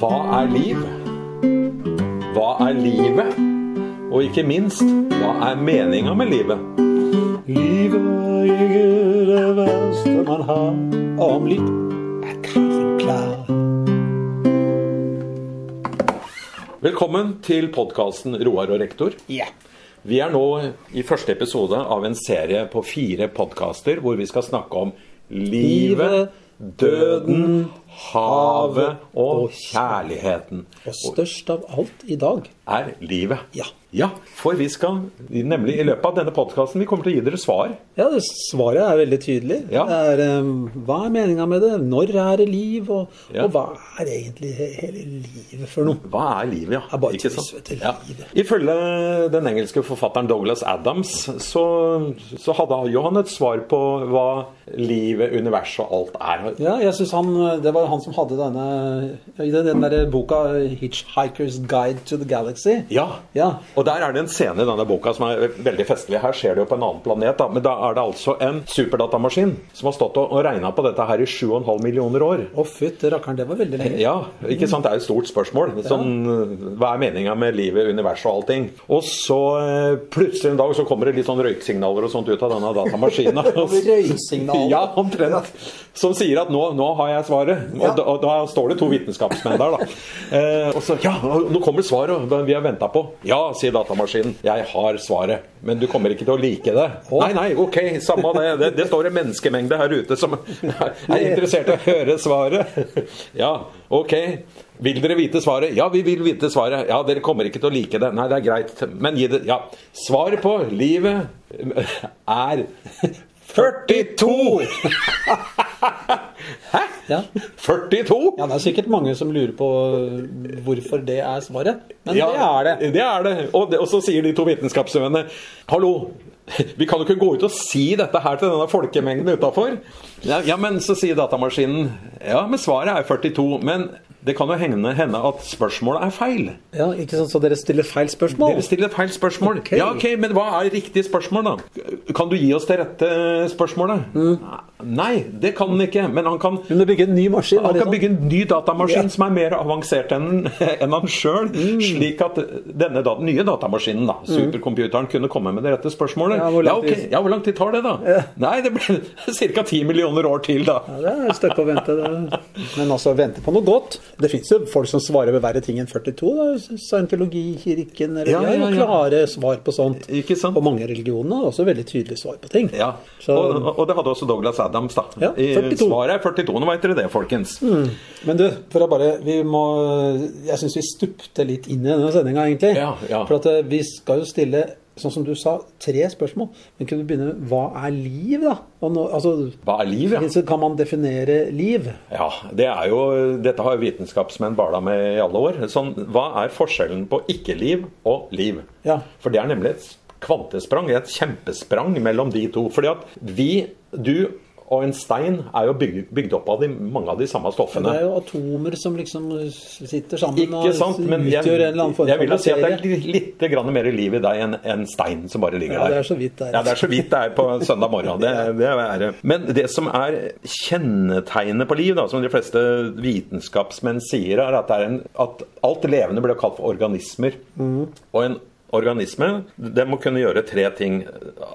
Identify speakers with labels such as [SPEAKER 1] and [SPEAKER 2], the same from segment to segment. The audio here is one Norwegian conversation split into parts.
[SPEAKER 1] Hva er liv? Hva er livet? Og ikke minst, hva er meninga med livet? Livet er det verste man har. Om litt er kaffen klar. Velkommen til podkasten Roar og rektor.
[SPEAKER 2] Ja.
[SPEAKER 1] Vi er nå i første episode av en serie på fire podkaster hvor vi skal snakke om livet, døden, havet og kjærligheten.
[SPEAKER 2] Og størst av alt i dag.
[SPEAKER 1] Er livet.
[SPEAKER 2] Ja.
[SPEAKER 1] For vi skal nemlig i løpet av denne podkasten Vi kommer til å gi dere svar.
[SPEAKER 2] Ja, det Svaret er veldig tydelig.
[SPEAKER 1] Ja.
[SPEAKER 2] Det er, eh, hva er meninga med det? Når er det liv? Og,
[SPEAKER 1] Ja.
[SPEAKER 2] og hva er egentlig he- hele livet for noe?
[SPEAKER 1] Hva er livet, ja?
[SPEAKER 2] er bare
[SPEAKER 1] Ikke
[SPEAKER 2] tøys,
[SPEAKER 1] sant?
[SPEAKER 2] vet du, livet.
[SPEAKER 1] Ifølge den engelske forfatteren Douglas Adams så, så hadde jo han et svar på hva livet, universet og alt er.
[SPEAKER 2] Ja, jeg synes han, eh, Det var han som hadde denne i den, den der boka eh, 'Hitchhiker's Guide to the Galaxy'.
[SPEAKER 1] Ja.
[SPEAKER 2] Ja.
[SPEAKER 1] Og der er det en scene i denne boka som er veldig festlig. Her skjer det jo på en annen planet, da. Men da er det altså en superdatamaskin som har stått og regna på dette her i 7,5 millioner år.
[SPEAKER 2] Å, fytti rakkeren, det var veldig lenge.
[SPEAKER 1] Ja, ikke sant? Det er jo et stort spørsmål. Sånn, hva er meninga med livet, universet og allting? Og så eh, plutselig en dag så kommer det litt sånn røyksignaler og sånt ut av denne datamaskina.
[SPEAKER 2] Røyksignaler.
[SPEAKER 1] Ja, omtrent. Som sier at nå, 'nå har jeg svaret'. Og,
[SPEAKER 2] Ja.
[SPEAKER 1] da, og da står det to vitenskapsmenn der, da. Eh, og så 'ja, nå kommer svaret', og det vi har venta på. 'Ja', sier datamaskinen. 'Jeg har svaret', men du kommer ikke til å like det. Nei, nei, ok, samme det. Det, det står en menneskemengde her ute som er interessert i å høre svaret. Ja, ok. Vil dere vite svaret? Ja, vi vil vite svaret. Ja, dere kommer ikke til å like det. Nei, det er greit, men gi det Ja. Svaret på livet er 42! Hæ?
[SPEAKER 2] Ja.
[SPEAKER 1] 42?
[SPEAKER 2] Ja, Det er sikkert mange som lurer på eh, hvorfor det er svaret, men
[SPEAKER 1] Ja,
[SPEAKER 2] det er det.
[SPEAKER 1] Det er det. Og, det. og så sier de to vitenskapsmennene Hallo, vi kan jo ikke gå ut og si dette her til denne folkemengden utafor. Ja, ja, men så sier datamaskinen Ja, men svaret er 42. Men det kan jo hende, hende at spørsmålet er feil.
[SPEAKER 2] Ja, ikke sant, Så dere stiller feil spørsmål?
[SPEAKER 1] Dere stiller et feil spørsmål.
[SPEAKER 2] Ok.
[SPEAKER 1] Ja, ok, Men hva er riktig spørsmål, da? Kan du gi oss det rette spørsmålet? Nei, det kan han ikke. Men han kan
[SPEAKER 2] Hun vil bygge en ny maskin. var
[SPEAKER 1] Han
[SPEAKER 2] det
[SPEAKER 1] kan
[SPEAKER 2] sånn?
[SPEAKER 1] bygge en ny datamaskin
[SPEAKER 2] Ja. Mm.
[SPEAKER 1] som er mer avansert enn enn han sjøl, slik at denne da, nye datamaskinen, da, supercomputeren, kunne komme med det rette spørsmålet.
[SPEAKER 2] Ja, hvor lang
[SPEAKER 1] ok.
[SPEAKER 2] tid-
[SPEAKER 1] ja, hvor lang tid tar det, da? Nei, det blir ca. 10 millioner år til, da.
[SPEAKER 2] Ja, det er et stykke å vente. Det. Men altså, vente på noe godt. Det fins jo folk som svarer ved verre ting enn 42. Da. Scientologikirken eller
[SPEAKER 1] Ja,
[SPEAKER 2] de har jo
[SPEAKER 1] ja, ja.
[SPEAKER 2] klare svar på sånt.
[SPEAKER 1] Ikke sant?
[SPEAKER 2] Og mange religioner har også veldig tydelige svar på ting.
[SPEAKER 1] Ja,
[SPEAKER 2] Så,
[SPEAKER 1] og, og det hadde også Douglas Adams, da.
[SPEAKER 2] Ja,
[SPEAKER 1] I
[SPEAKER 2] 42.
[SPEAKER 1] Svaret er 42. Nå veit dere det, folkens.
[SPEAKER 2] Mm. men du, for å bare Vi må Jeg syns vi stupte litt inn i denne sendinga, egentlig.
[SPEAKER 1] Ja, ja.
[SPEAKER 2] For at eh, vi skal jo stille, sånn som du sa, tre spørsmål. Men kunne du begynne med hva er liv, da? Og nå, altså,
[SPEAKER 1] Hva er liv, ja?
[SPEAKER 2] så kan man definere liv.
[SPEAKER 1] Ja, det er jo, Dette har jo vitenskapsmenn bala med i alle år. Sånn, hva er forskjellen på ikke-liv og liv?
[SPEAKER 2] Ja.
[SPEAKER 1] For det er nemlig et kvantesprang, et kjempesprang mellom de to. Fordi at vi, du og en stein er jo bygd, bygd opp av de, mange av de samme
[SPEAKER 2] Det
[SPEAKER 1] stoffene.
[SPEAKER 2] er jo atomer som liksom sitter sammen
[SPEAKER 1] Ikke sant? Men
[SPEAKER 2] og
[SPEAKER 1] jeg,
[SPEAKER 2] utgjør en eller annen form
[SPEAKER 1] jeg vil jo
[SPEAKER 2] for
[SPEAKER 1] si at det
[SPEAKER 2] materie.
[SPEAKER 1] er litt, litt grann mer liv i deg enn enn stein som bare ligger
[SPEAKER 2] Ja,
[SPEAKER 1] der.
[SPEAKER 2] det er så vidt det er.
[SPEAKER 1] Ja, det er så vidt det er på søndag morgen. Det, det er det. Men det som er kjennetegnet på liv, da, som de fleste vitenskapsmenn sier, er at, det er en, at alt levende blir kalt for organismer. Og en organisme den må kunne gjøre tre ting.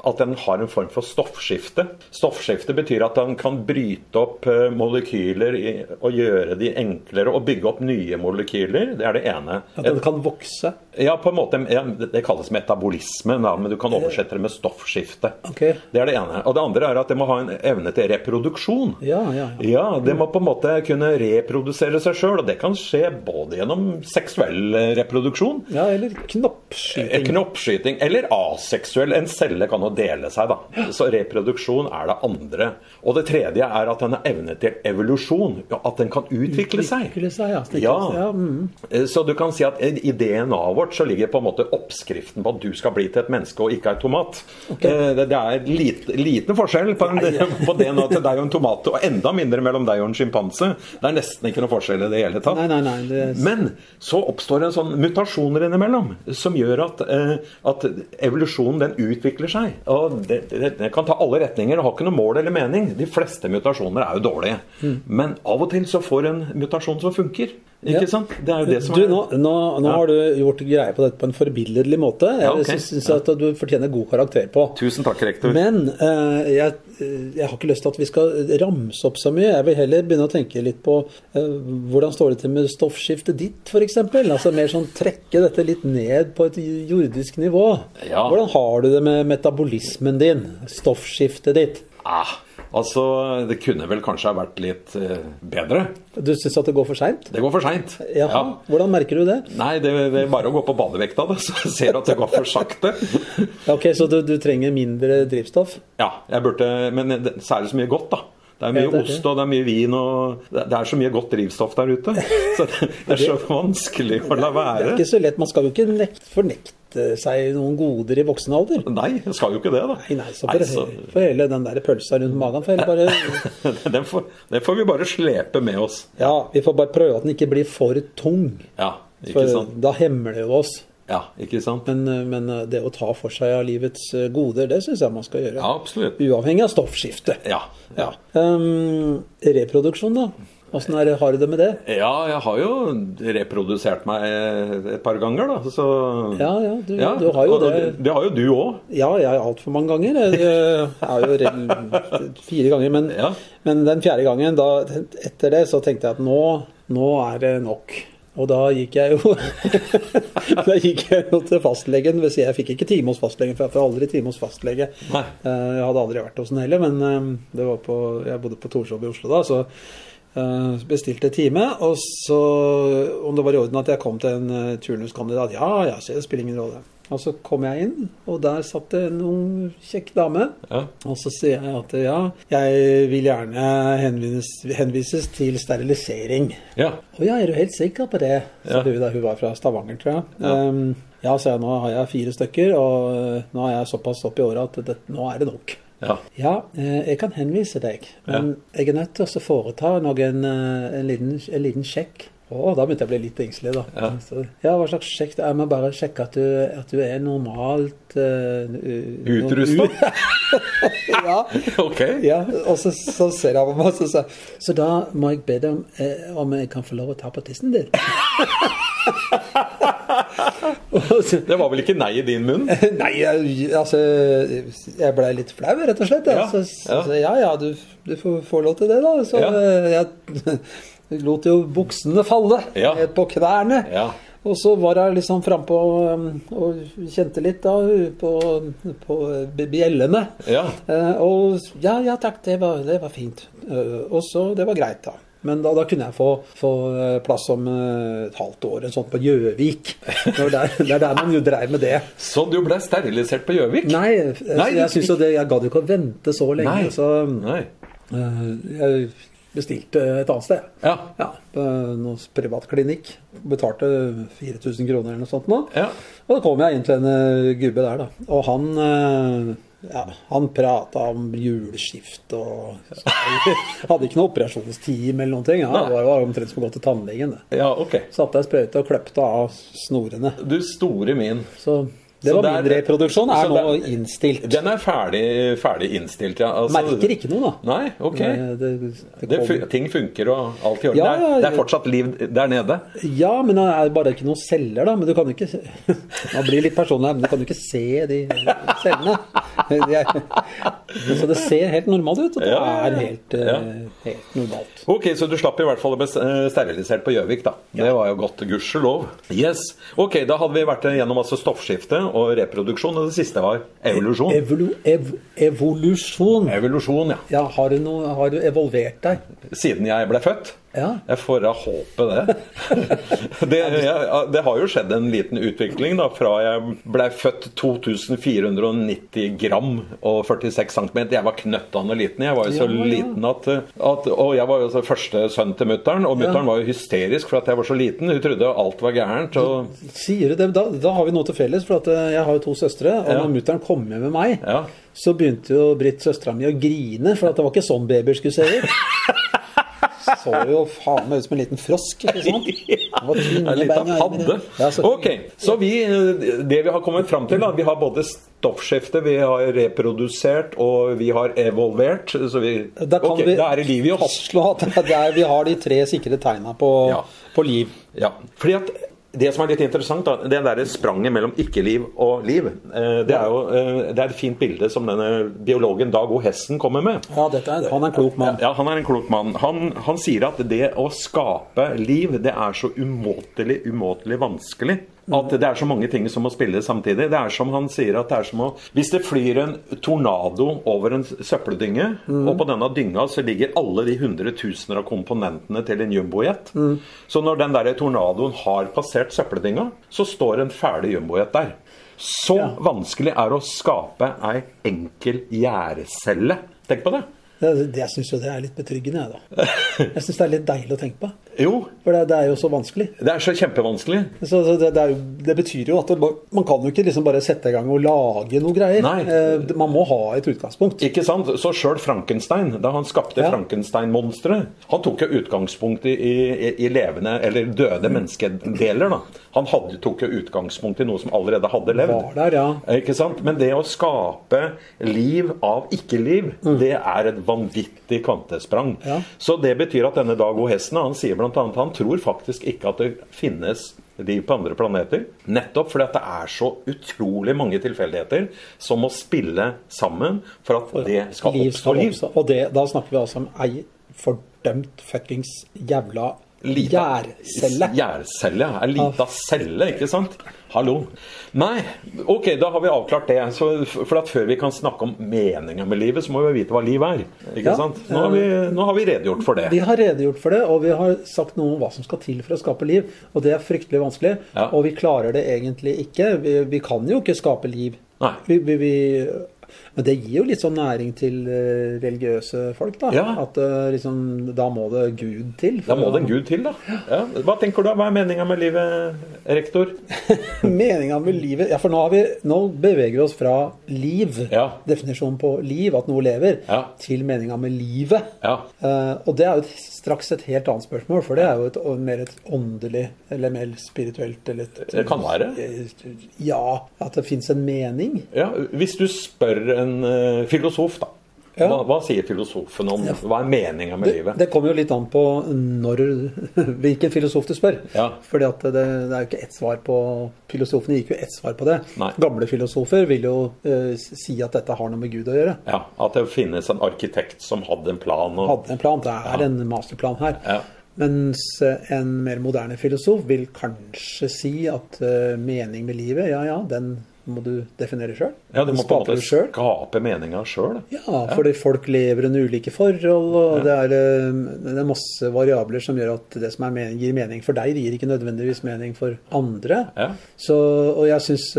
[SPEAKER 1] At den har en form for stoffskifte. Stoffskifte betyr at den kan bryte opp eh, molekyler i, og gjøre de enklere og bygge opp nye molekyler. Det er det ene.
[SPEAKER 2] At den kan vokse.
[SPEAKER 1] Ja, på en måte. Ja, det kalles metabolisme, da, men du kan oversette det med stoffskifte.
[SPEAKER 2] Eh, Ok.
[SPEAKER 1] Det er det ene. Og det andre er at det må ha en evne til reproduksjon.
[SPEAKER 2] Ja, ja, ja.
[SPEAKER 1] Ja, det må på en måte kunne reprodusere seg sjøl, og det kan skje både gjennom seksuell eh, reproduksjon,
[SPEAKER 2] Ja, eller
[SPEAKER 1] Eh,
[SPEAKER 2] knoppskyting.
[SPEAKER 1] knoppskyting eller aseksuell. En celle kan jo dele seg, da. Så reproduksjon er det andre. Og det tredje er at den har evne til evolusjon. ja, At den kan utvikle seg.
[SPEAKER 2] Utvikle seg, ja. Stikle
[SPEAKER 1] Ja.
[SPEAKER 2] seg, ja, mm.
[SPEAKER 1] Eh, Så du kan si at i DNA-et vårt så ligger på en måte oppskriften på at du skal bli til et menneske og ikke ei tomat. Eh, Det det er lit, liten forskjell på, en, på DNA til deg og en tomat, og enda mindre mellom deg og en sjimpanse. Det er nesten ikke noe forskjell i det hele tatt.
[SPEAKER 2] Nei, nei, nei. Det,
[SPEAKER 1] Men så oppstår en sånn mutasjoner innimellom som gjør at, eh, at evolusjonen den utvikler seg. Og det, det, det kan ta alle retninger, det har ikke noe mål eller
[SPEAKER 2] Hmm.
[SPEAKER 1] mening. De fleste mutasjoner er jo dårlige. Men av og til så får en mutasjon som funker. Ikke
[SPEAKER 2] Ja.
[SPEAKER 1] sant? Det er jo det som
[SPEAKER 2] Du,
[SPEAKER 1] er
[SPEAKER 2] nå, nå, nå har du gjort greie på dette på en forbilledlig måte. Jeg
[SPEAKER 1] Ja, ok.
[SPEAKER 2] syns- syns at du fortjener god karakter på.
[SPEAKER 1] Tusen takk, rektor.
[SPEAKER 2] Men eh, jeg, eh, jeg har ikke lyst til at vi skal ramse opp så mye. Jeg vil heller begynne å tenke litt på eh, hvordan står det til med stoffskiftet ditt, f.eks. Altså mer sånn trekke dette litt ned på et jordisk nivå.
[SPEAKER 1] Ja.
[SPEAKER 2] Hvordan har du det med metabolismen din? Stoffskiftet ditt?
[SPEAKER 1] Ah, altså, det kunne vel kanskje ha vært litt eh, bedre.
[SPEAKER 2] Du syns at det går for seint?
[SPEAKER 1] Det går for seint.
[SPEAKER 2] Jaha. Hvordan merker du det?
[SPEAKER 1] Nei, det, det er bare å gå på badevekta, da, så ser du at det går for sakte.
[SPEAKER 2] Ok, Så du, du trenger mindre drivstoff?
[SPEAKER 1] Ja, jeg burde Men det, så er det så mye godt, da. Det er mye
[SPEAKER 2] Ja, det er det.
[SPEAKER 1] ost og det er mye vin og Det det er så mye godt drivstoff der ute. Så det, det er så vanskelig å la
[SPEAKER 2] Det
[SPEAKER 1] være.
[SPEAKER 2] er ikke så lett. Man skal jo ikke nekt, fornekte seg noen goder i voksen alder.
[SPEAKER 1] Nei, jeg skal jo ikke det, da.
[SPEAKER 2] Nei, nei, så for,
[SPEAKER 1] så-
[SPEAKER 2] for hele den der pølsa rundt magen for hele bare
[SPEAKER 1] den, får, den får vi bare slepe med oss.
[SPEAKER 2] Ja, vi får bare prøve at den ikke blir for tung.
[SPEAKER 1] Ja, ikke
[SPEAKER 2] For
[SPEAKER 1] sant?
[SPEAKER 2] da hemmer det jo oss.
[SPEAKER 1] Ja, ikke sant?
[SPEAKER 2] Men, men eh, det å ta for seg av livets eh, goder, det syns jeg man skal gjøre.
[SPEAKER 1] Ja, absolutt.
[SPEAKER 2] Uavhengig av stoffskifte.
[SPEAKER 1] Ja.
[SPEAKER 2] Ja. Ehm, reproduksjon, da? Åssen er det- har du det med det?
[SPEAKER 1] Ja, jeg har jo reprodusert meg et par ganger, da, så
[SPEAKER 2] Ja, ja, du- du har jo
[SPEAKER 1] Mm. og- og
[SPEAKER 2] det.
[SPEAKER 1] Det har jo du òg.
[SPEAKER 2] Ja, jeg altfor mange ganger. Jeg er jo rel- fire ganger, men,
[SPEAKER 1] Ja.
[SPEAKER 2] men den fjerde gangen, da, etter det, så tenkte jeg at nå, nå er det nok. Og da gikk jeg jo Da gikk jeg jo til fastlegen. Vil si, jeg fikk ikke time hos fastlegen, for jeg får aldri time hos fastlege.
[SPEAKER 1] Nei.
[SPEAKER 2] Eh, Jeg hadde aldri vært hos den heller, men eh, det var på, jeg bodde på Torshov i Oslo da, så eh, bestilte time, og så om det var i orden at jeg kom til en eh, turnuskandidat, ja, ja, så det spiller ingen rolle. Og så kom jeg inn, og der satt det en ung, kjekk dame,
[SPEAKER 1] Ja.
[SPEAKER 2] og så sier jeg at ja, jeg vil gjerne henvises, henvises til sterilisering.
[SPEAKER 1] ja.
[SPEAKER 2] Å ja, er du helt sikker på det? sa
[SPEAKER 1] Ja.
[SPEAKER 2] du da hun var fra Stavanger, tror jeg.
[SPEAKER 1] Ja.
[SPEAKER 2] Ehm, ja, sa jeg, nå har jeg fire stykker, og eh, nå er jeg såpass opp i åra at det, nå er det nok.
[SPEAKER 1] ja.
[SPEAKER 2] Ja, eh, jeg kan henvise deg, men jeg er nødt til å foreta noen, eh, en, liten, en liten sjekk. Å, da begynte jeg å bli litt engstelig, da.
[SPEAKER 1] Ja.
[SPEAKER 2] Så, ja, hva slags sjekk? Jeg må bare sjekke at du, at du er normalt uh,
[SPEAKER 1] Utrustet?
[SPEAKER 2] ja.
[SPEAKER 1] Ok.
[SPEAKER 2] Ja, og så, så ser jeg på meg og så sier jeg, Så da må jeg be deg om, eh, om jeg kan få lov å ta på tissen din. Og så-
[SPEAKER 1] Det var vel ikke nei i din munn?
[SPEAKER 2] Nei, jeg, altså Jeg blei litt flau, rett og slett.
[SPEAKER 1] Ja,
[SPEAKER 2] Ja, så, så,
[SPEAKER 1] ja.
[SPEAKER 2] ja, ja du, du får, får lov til det, da. Så
[SPEAKER 1] Ja.
[SPEAKER 2] eh, jeg lot jo buksene falle
[SPEAKER 1] Ja.
[SPEAKER 2] ned på knærne.
[SPEAKER 1] Ja.
[SPEAKER 2] Og så var jeg liksom frampå og kjente litt da på, på bjellene.
[SPEAKER 1] Ja.
[SPEAKER 2] Eh, Og ja, ja takk, det var, det var fint. Eh, Og så Det var greit, da. Men da, da kunne jeg få, få eh, plass om eh, et halvt år, en sånn på Gjøvik. Det var der- det er der man jo dreiv med det.
[SPEAKER 1] Så Sånn, du ble sterilisert på Gjøvik?
[SPEAKER 2] Nei, jeg,
[SPEAKER 1] Nei,
[SPEAKER 2] jeg
[SPEAKER 1] du-
[SPEAKER 2] synes jo det, jeg gadd jo ikke å vente så lenge,
[SPEAKER 1] Nei.
[SPEAKER 2] så
[SPEAKER 1] Nei.
[SPEAKER 2] eh, jeg bestilte et annet sted.
[SPEAKER 1] Ja.
[SPEAKER 2] Ja, på noen privat klinikk. Betalte 4000 kroner eller noe sånt nå.
[SPEAKER 1] Ja.
[SPEAKER 2] Og da kom jeg inn til en eh, gubbe der, da. Og han eh, ja, han prata om juleskift og Hadde ikke noe operasjonsteam eller noen ting. Ja, det var jo omtrent som å gå til tannlegen. det.
[SPEAKER 1] ja, ok.
[SPEAKER 2] Satte ei sprøyte og kløpte av snorene.
[SPEAKER 1] Du store min.
[SPEAKER 2] Så det
[SPEAKER 1] Så
[SPEAKER 2] var min
[SPEAKER 1] der-
[SPEAKER 2] reproduksjon.
[SPEAKER 1] så
[SPEAKER 2] Er nå
[SPEAKER 1] der-
[SPEAKER 2] innstilt.
[SPEAKER 1] Den er ferdig, ferdig innstilt, ja. Altså-
[SPEAKER 2] Merker ikke noe, da.
[SPEAKER 1] Nei, ok.
[SPEAKER 2] Nei, Det, det
[SPEAKER 1] Det,
[SPEAKER 2] kom.
[SPEAKER 1] fun- ting funker og alt i orden.
[SPEAKER 2] Ja,
[SPEAKER 1] Det er-
[SPEAKER 2] ja,
[SPEAKER 1] det er
[SPEAKER 2] ja.
[SPEAKER 1] fortsatt liv der nede.
[SPEAKER 2] Ja, men det er bare ikke noen celler, da. Men du kan jo ikke Man blir litt personlig, her, men du kan jo ikke se de cellene. De er- Så det ser helt normalt ut, og det
[SPEAKER 1] Ja, ja,
[SPEAKER 2] er
[SPEAKER 1] ja.
[SPEAKER 2] helt, eh,
[SPEAKER 1] Ja.
[SPEAKER 2] helt normalt.
[SPEAKER 1] Ok, så du slapp i hvert fall å bli eh, sterilisert på Gjøvik, da. Det var jo godt, gudskjelov. Yes. Ok, da hadde vi vært gjennom altså stoffskifte og reproduksjon, og det siste var evolusjon.
[SPEAKER 2] Evolu ev evolusjon.
[SPEAKER 1] Evolusjon, ja.
[SPEAKER 2] Ja, har du, noe, har du evolvert deg?
[SPEAKER 1] Siden jeg ble født.
[SPEAKER 2] Ja.
[SPEAKER 1] Jeg får da håpe det. det, jeg, det har jo skjedd en liten utvikling da, fra jeg ble født 2490 gram og 46 cm. Jeg var knøttende liten. Jeg var jo så
[SPEAKER 2] Ja, ja.
[SPEAKER 1] liten at, at Og jeg var jo så første sønn til mutter'n, og mutter'n var jo hysterisk for at jeg var så liten. Hun trodde alt var gærent. Og,
[SPEAKER 2] Sier du det? Da, da har vi noe til felles, for at eh, jeg har jo to søstre. Og
[SPEAKER 1] Ja.
[SPEAKER 2] når mutter'n kom hjem med meg,
[SPEAKER 1] Ja.
[SPEAKER 2] så begynte jo Britt, søstera mi, å grine, for at det var ikke sånn babyer skulle se ut. så jo faen meg ut som en liten frosk. ikke sant? Det var tynne
[SPEAKER 1] En liten
[SPEAKER 2] bein og armer.
[SPEAKER 1] padde.
[SPEAKER 2] Ja, så-
[SPEAKER 1] Ok, så vi, eh, det vi har kommet fram til, da, vi har både stoffskifte, vi har reprodusert og vi har evolvert. Så vi,
[SPEAKER 2] Da kan
[SPEAKER 1] ok,
[SPEAKER 2] vi
[SPEAKER 1] da er det liv i oss.
[SPEAKER 2] fastslå at det er, vi har de tre sikre tegna på,
[SPEAKER 1] Ja.
[SPEAKER 2] på liv.
[SPEAKER 1] Ja, fordi at det som er litt interessant, da, det der spranget mellom ikke-liv og liv, eh, det er jo eh, det er et fint bilde som denne biologen Dag O. Hessen kommer med.
[SPEAKER 2] Ja, dette er, han er en klok mann.
[SPEAKER 1] Ja, Han er en klok mann. Han, han sier at det å skape liv, det er så umåtelig, umåtelig vanskelig. At det er så mange ting som må spille samtidig. Det er som han sier at det er som å Hvis det flyr en tornado over en søppeldynge, og på denne dynga så ligger alle de hundretusener av komponentene til en jumbojet Så når den der tornadoen har passert søppeldynga, så står en ferdig jumbojet der. Så vanskelig er det å skape ei enkel gjerdecelle. Tenk på det.
[SPEAKER 2] Det, det, jeg syns jo det er litt betryggende, jeg, da. Jeg syns det er litt deilig å tenke på.
[SPEAKER 1] Jo,
[SPEAKER 2] For det, det er jo så vanskelig.
[SPEAKER 1] Det er så kjempevanskelig.
[SPEAKER 2] Så, så det, det, er, jo- det betyr jo at det, bare- man kan jo ikke liksom bare sette i gang og lage noe greier.
[SPEAKER 1] Nei.
[SPEAKER 2] Eh, det- man må ha et utgangspunkt.
[SPEAKER 1] Ikke sant? Så sjøl Frankenstein, da han skapte
[SPEAKER 2] Ja.
[SPEAKER 1] Frankenstein-monsteret Han tok jo utgangspunkt i, i, i levende eller døde menneskedeler. da. Han hadde, tok jo utgangspunkt i noe som allerede hadde levd.
[SPEAKER 2] Var der, ja.
[SPEAKER 1] Ikke sant? Men det å skape liv av ikke-liv, det er et vanvittig kvantesprang.
[SPEAKER 2] Mm. Ja.
[SPEAKER 1] Så det betyr at denne Dag O. Hessen han sier blant annet, han tror faktisk ikke at det finnes liv på andre planeter. Nettopp fordi at det er så utrolig mange tilfeldigheter som må spille sammen for at det skal
[SPEAKER 2] Liv
[SPEAKER 1] oppstå
[SPEAKER 2] skal
[SPEAKER 1] liv.
[SPEAKER 2] oppstå. Og det, da snakker vi altså om ei fordømt fuckings jævla
[SPEAKER 1] Lita-
[SPEAKER 2] gjærcelle.
[SPEAKER 1] Gjærcelle, ja. En lita celle, ikke sant? Hallo. Nei, ok, da har vi avklart det. Så, for at før vi kan snakke om meningen med livet, så må vi vite hva liv er. Ikke
[SPEAKER 2] Ja.
[SPEAKER 1] sant? Nå har, vi, nå har vi redegjort for
[SPEAKER 2] Vi
[SPEAKER 1] det.
[SPEAKER 2] har redegjort for det, og vi har sagt noe om hva som skal til for å skape liv. Og det er fryktelig vanskelig,
[SPEAKER 1] Ja.
[SPEAKER 2] og vi klarer det egentlig ikke. Vi, vi kan jo ikke skape liv.
[SPEAKER 1] Nei.
[SPEAKER 2] Vi, vi, vi, men det gir jo litt sånn næring til eh, religiøse folk, da.
[SPEAKER 1] Ja.
[SPEAKER 2] At eh, liksom, da må det Gud til.
[SPEAKER 1] Da må det en gud til, da. Ja. Hva tenker du, hva er meningen med livet, rektor?
[SPEAKER 2] Meninga med livet Ja, for nå, har vi, nå beveger vi oss fra liv,
[SPEAKER 1] Ja.
[SPEAKER 2] definisjonen på liv, at noe lever,
[SPEAKER 1] Ja.
[SPEAKER 2] til meninga med livet.
[SPEAKER 1] Ja.
[SPEAKER 2] Eh, og det er jo et, straks et helt annet spørsmål, for det er jo et, og mer et åndelig eller mer spirituelt eller et, Eh,
[SPEAKER 1] Det kan være.
[SPEAKER 2] Ja. At det fins en mening.
[SPEAKER 1] Ja, hvis du spør en eh, filosof, da.
[SPEAKER 2] Ja.
[SPEAKER 1] Hva, hva sier filosofen om Hva er meningen med livet?
[SPEAKER 2] Det kommer jo litt an på når, hvilken filosof du spør.
[SPEAKER 1] Ja.
[SPEAKER 2] Fordi at det, det er jo ikke ett svar på Filosofene gikk jo ett svar på det.
[SPEAKER 1] Nei.
[SPEAKER 2] Gamle filosofer vil jo eh, si at dette har noe med Gud å gjøre.
[SPEAKER 1] Ja, At det finnes en arkitekt som hadde en plan. Og...
[SPEAKER 2] hadde en plan. Det er en masterplan her.
[SPEAKER 1] Ja.
[SPEAKER 2] Mens eh, en mer moderne filosof vil kanskje si at eh, mening med livet, ja ja, den må du definere sjøl.
[SPEAKER 1] Ja, Du må på en måte
[SPEAKER 2] sjøl.
[SPEAKER 1] skape meninga sjøl.
[SPEAKER 2] Ja, fordi folk lever under ulike forhold, og det, er, eh, det er masse variabler som gjør at det som er mening, gir mening for deg, det gir ikke nødvendigvis mening for andre.
[SPEAKER 1] Ja.
[SPEAKER 2] Så, og jeg syns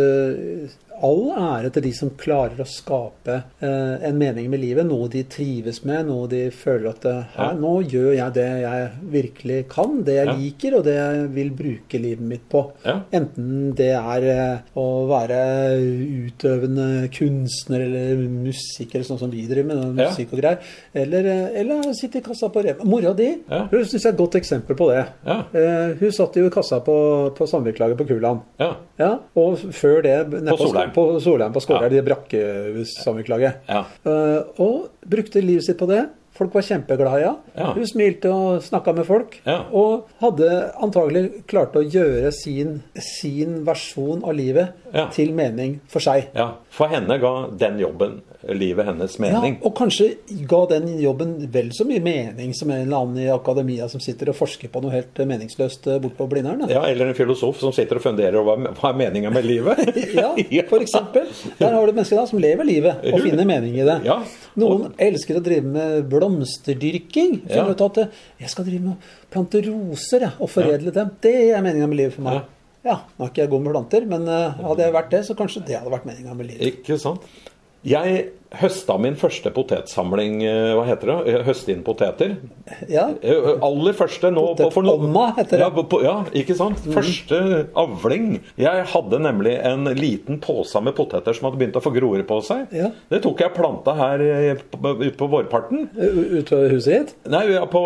[SPEAKER 2] all ære til de som klarer å skape eh, en mening med livet, noe de trives med, noe de føler at eh, her, nå gjør jeg det jeg virkelig kan, det jeg
[SPEAKER 1] Ja.
[SPEAKER 2] liker og det jeg vil bruke livet mitt på.
[SPEAKER 1] Ja.
[SPEAKER 2] Enten det er eh, å være utøvende kunstner eller musiker, sånn som vi driver med,
[SPEAKER 1] Ja.
[SPEAKER 2] musikk og greier, eller, eh, eller sitte i kassa på Rema. Mora di
[SPEAKER 1] Ja.
[SPEAKER 2] hun syns jeg er et godt eksempel på det.
[SPEAKER 1] Ja.
[SPEAKER 2] Eh, hun satt jo i kassa på, på samvirkelaget på Kuland.
[SPEAKER 1] Ja.
[SPEAKER 2] Ja, og før det nede
[SPEAKER 1] På Solheim.
[SPEAKER 2] På Solheim, på Skålheim,
[SPEAKER 1] Ja.
[SPEAKER 2] det brakkesamvirkelaget.
[SPEAKER 1] Ja.
[SPEAKER 2] Eh, og brukte livet sitt på det. Folk var kjempeglade i henne.
[SPEAKER 1] Ja.
[SPEAKER 2] Hun smilte og snakka med folk.
[SPEAKER 1] Ja.
[SPEAKER 2] Og hadde antagelig klart å gjøre sin, sin versjon av livet
[SPEAKER 1] Ja.
[SPEAKER 2] til mening for seg.
[SPEAKER 1] Ja, for henne ga den jobben livet hennes
[SPEAKER 2] Ja,
[SPEAKER 1] mening.
[SPEAKER 2] og kanskje ga den jobben vel så mye mening som en eller annen i akademia som sitter og forsker på noe helt eh, meningsløst eh, bort på Blindern. da.
[SPEAKER 1] Ja, eller en filosof som sitter og funderer over hva- hva er meninga med livet.
[SPEAKER 2] Ja, for eksempel. Der har du mennesker da, som lever livet og finner mening i det.
[SPEAKER 1] Ja.
[SPEAKER 2] Noen elsker å drive med blomsterdyrking.
[SPEAKER 1] Ja.
[SPEAKER 2] Finner ut at eh, 'jeg skal drive med å plante roser jeg, og foredle dem'. Det er meninga med livet for meg.
[SPEAKER 1] Ja.
[SPEAKER 2] Ja, nå er ikke jeg god med planter, men eh, hadde jeg vært det, så kanskje det hadde vært meninga med livet.
[SPEAKER 1] Ikke sant? Jeg høsta min første potetsamling eh, Hva heter det? Eh, Høste inn poteter.
[SPEAKER 2] Ja.
[SPEAKER 1] Eh, Aller første nå på- for noen-
[SPEAKER 2] Potetpanna heter det. Mm.
[SPEAKER 1] Ja, på- på, ja, ikke sant? Første avling. Jeg hadde nemlig en liten pose med poteter som hadde begynt å få groer på seg.
[SPEAKER 2] Ja.
[SPEAKER 1] Det tok jeg og planta her eh, på- ute på vårparten.
[SPEAKER 2] U- Ut ved huset ditt?
[SPEAKER 1] Nei, ja, på,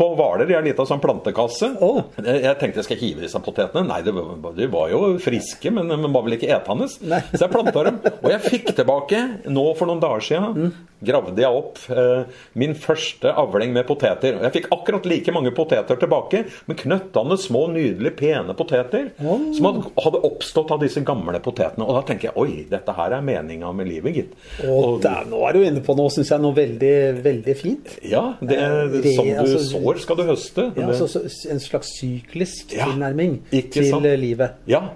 [SPEAKER 1] på Hvaler. Jeg har en liten sånn plantekasse.
[SPEAKER 2] Å.
[SPEAKER 1] Jeg, jeg tenkte jeg skal hive i seg potetene. Nei, de, var- de var jo friske, men men var vel ikke etende.
[SPEAKER 2] Nei.
[SPEAKER 1] Så jeg planta dem. Og jeg fikk tilbake, nå for noen dager
[SPEAKER 2] Mm.
[SPEAKER 1] siden, gravde jeg opp eh, min første avling med poteter. Og Jeg fikk akkurat like mange poteter tilbake, men knøttende små, nydelige, pene poteter. Som hadde, hadde oppstått av disse gamle potetene. Og da tenker jeg oi, dette her er meninga med livet, gitt.
[SPEAKER 2] Å, der, nå er du inne på noe, syns jeg, noe veldig, veldig fint.
[SPEAKER 1] Ja, det er
[SPEAKER 2] Eh, re-
[SPEAKER 1] som du
[SPEAKER 2] altså-
[SPEAKER 1] sår, skal du høste.
[SPEAKER 2] Ja,
[SPEAKER 1] Det-
[SPEAKER 2] altså, så- en slags syklisk
[SPEAKER 1] Ja,
[SPEAKER 2] tilnærming
[SPEAKER 1] ikke
[SPEAKER 2] til
[SPEAKER 1] sant?
[SPEAKER 2] eh, livet.
[SPEAKER 1] Ja,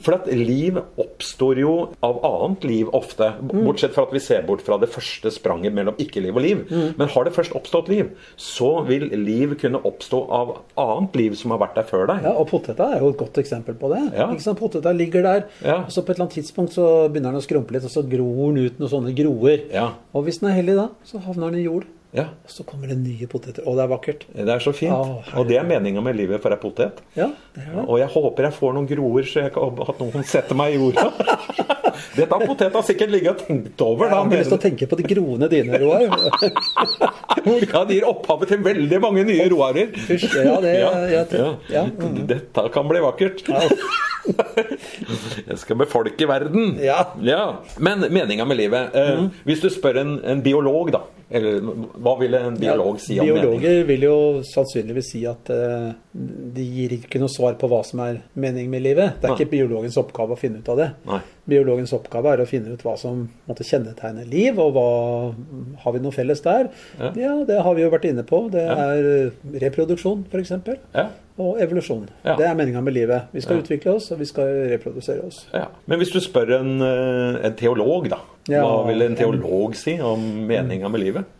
[SPEAKER 1] for at liv oppstår jo av annet liv ofte. Bortsett fra at vi ser bort fra det første spranget mellom ikke-liv og liv. Men har det først oppstått liv, så vil liv kunne oppstå av annet liv som har vært der før deg.
[SPEAKER 2] Ja, og poteta er jo et godt eksempel på det.
[SPEAKER 1] Ja.
[SPEAKER 2] Ikke sant? Poteta ligger der,
[SPEAKER 1] Ja.
[SPEAKER 2] og så på et eller annet tidspunkt så begynner den å skrumpe litt, og så gror den ut noen sånne groer.
[SPEAKER 1] Ja.
[SPEAKER 2] Og hvis den er heldig da, så havner den i jord.
[SPEAKER 1] Ja.
[SPEAKER 2] Og så kommer det nye poteter. Å, det er vakkert.
[SPEAKER 1] Det er så fint.
[SPEAKER 2] Å, herregud.
[SPEAKER 1] og det er meninga med livet for ei potet.
[SPEAKER 2] Ja, det er det.
[SPEAKER 1] Og jeg håper jeg får noen groer, så jeg kan, at noen setter meg i jorda. Dette har poteta sikkert ligget og tenkt over.
[SPEAKER 2] Jeg
[SPEAKER 1] da,
[SPEAKER 2] har ikke lyst til å
[SPEAKER 1] mener-
[SPEAKER 2] tenke på de groene dine, Roar.
[SPEAKER 1] Ja, det gir opphavet til veldig mange nye roarer.
[SPEAKER 2] Fysj, ja, det- jeg
[SPEAKER 1] ja.
[SPEAKER 2] tenk- Eh, ja, mm.
[SPEAKER 1] Dette kan bli vakkert. Jeg skal befolke verden.
[SPEAKER 2] Ja. Mm.
[SPEAKER 1] Men meninga med livet eh, Hvis du spør en, en biolog, da eller, Hva ville en biolog si om mening?
[SPEAKER 2] Biologer vil jo sannsynligvis si at eh, de gir ikke noe svar på hva som er mening med livet. Det er ikke biologens oppgave å finne ut av det.
[SPEAKER 1] Nei.
[SPEAKER 2] Biologens oppgave er å finne ut hva som måtte kjennetegne liv, og hva har vi noe felles der? Ja, det har vi jo vært inne på. Det er eh, reproduksjon, f.eks.
[SPEAKER 1] Ja.
[SPEAKER 2] Og evolusjon.
[SPEAKER 1] Ja.
[SPEAKER 2] Det er meninga med livet. Vi skal utvikle oss, og vi skal reprodusere oss.
[SPEAKER 1] Ja. Men hvis du spør en, eh, en teolog, da
[SPEAKER 2] Ja,
[SPEAKER 1] Hva vil en teolog si om meninga med livet?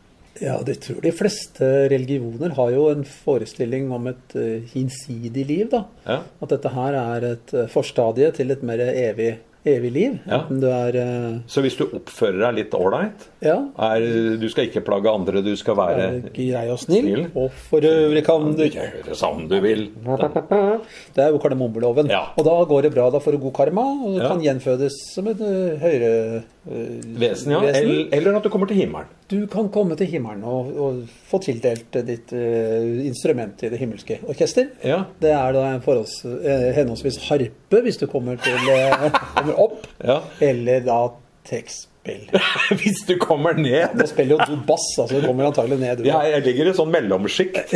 [SPEAKER 2] Ja, det tror de fleste religioner har jo en forestilling om et eh, hinsidig liv, da.
[SPEAKER 1] Ja.
[SPEAKER 2] At dette her er et eh, forstadie til et mer evig, evig liv.
[SPEAKER 1] Ja.
[SPEAKER 2] Enten du er eh,
[SPEAKER 1] Så hvis du oppfører deg litt ålreit
[SPEAKER 2] ja,
[SPEAKER 1] er- Du skal ikke plage andre, du skal være
[SPEAKER 2] er grei og snill.
[SPEAKER 1] Snill.
[SPEAKER 2] Og for øvrig kan du ikke
[SPEAKER 1] Gjøre som du vil.
[SPEAKER 2] Det er jo kardemommeloven.
[SPEAKER 1] Ja.
[SPEAKER 2] Og da går det bra. Da får du god karma og
[SPEAKER 1] Ja.
[SPEAKER 2] kan gjenfødes som et eh, høyere eh,
[SPEAKER 1] Vesen, ja. Eller, eller at du kommer til himmelen.
[SPEAKER 2] Du kan komme til himmelen og, og få tildelt ditt eh, instrument i det himmelske orkester.
[SPEAKER 1] Ja.
[SPEAKER 2] Det er da en forholds, eh, henholdsvis harpe, hvis du kommer, til, eh, kommer opp,
[SPEAKER 1] Ja.
[SPEAKER 2] eller da trekkspill.
[SPEAKER 1] Hvis du kommer ned
[SPEAKER 2] Nå spiller jo du bass, altså du kommer antagelig ned. Du.
[SPEAKER 1] ja, Jeg ligger i sånn mellomsjikt.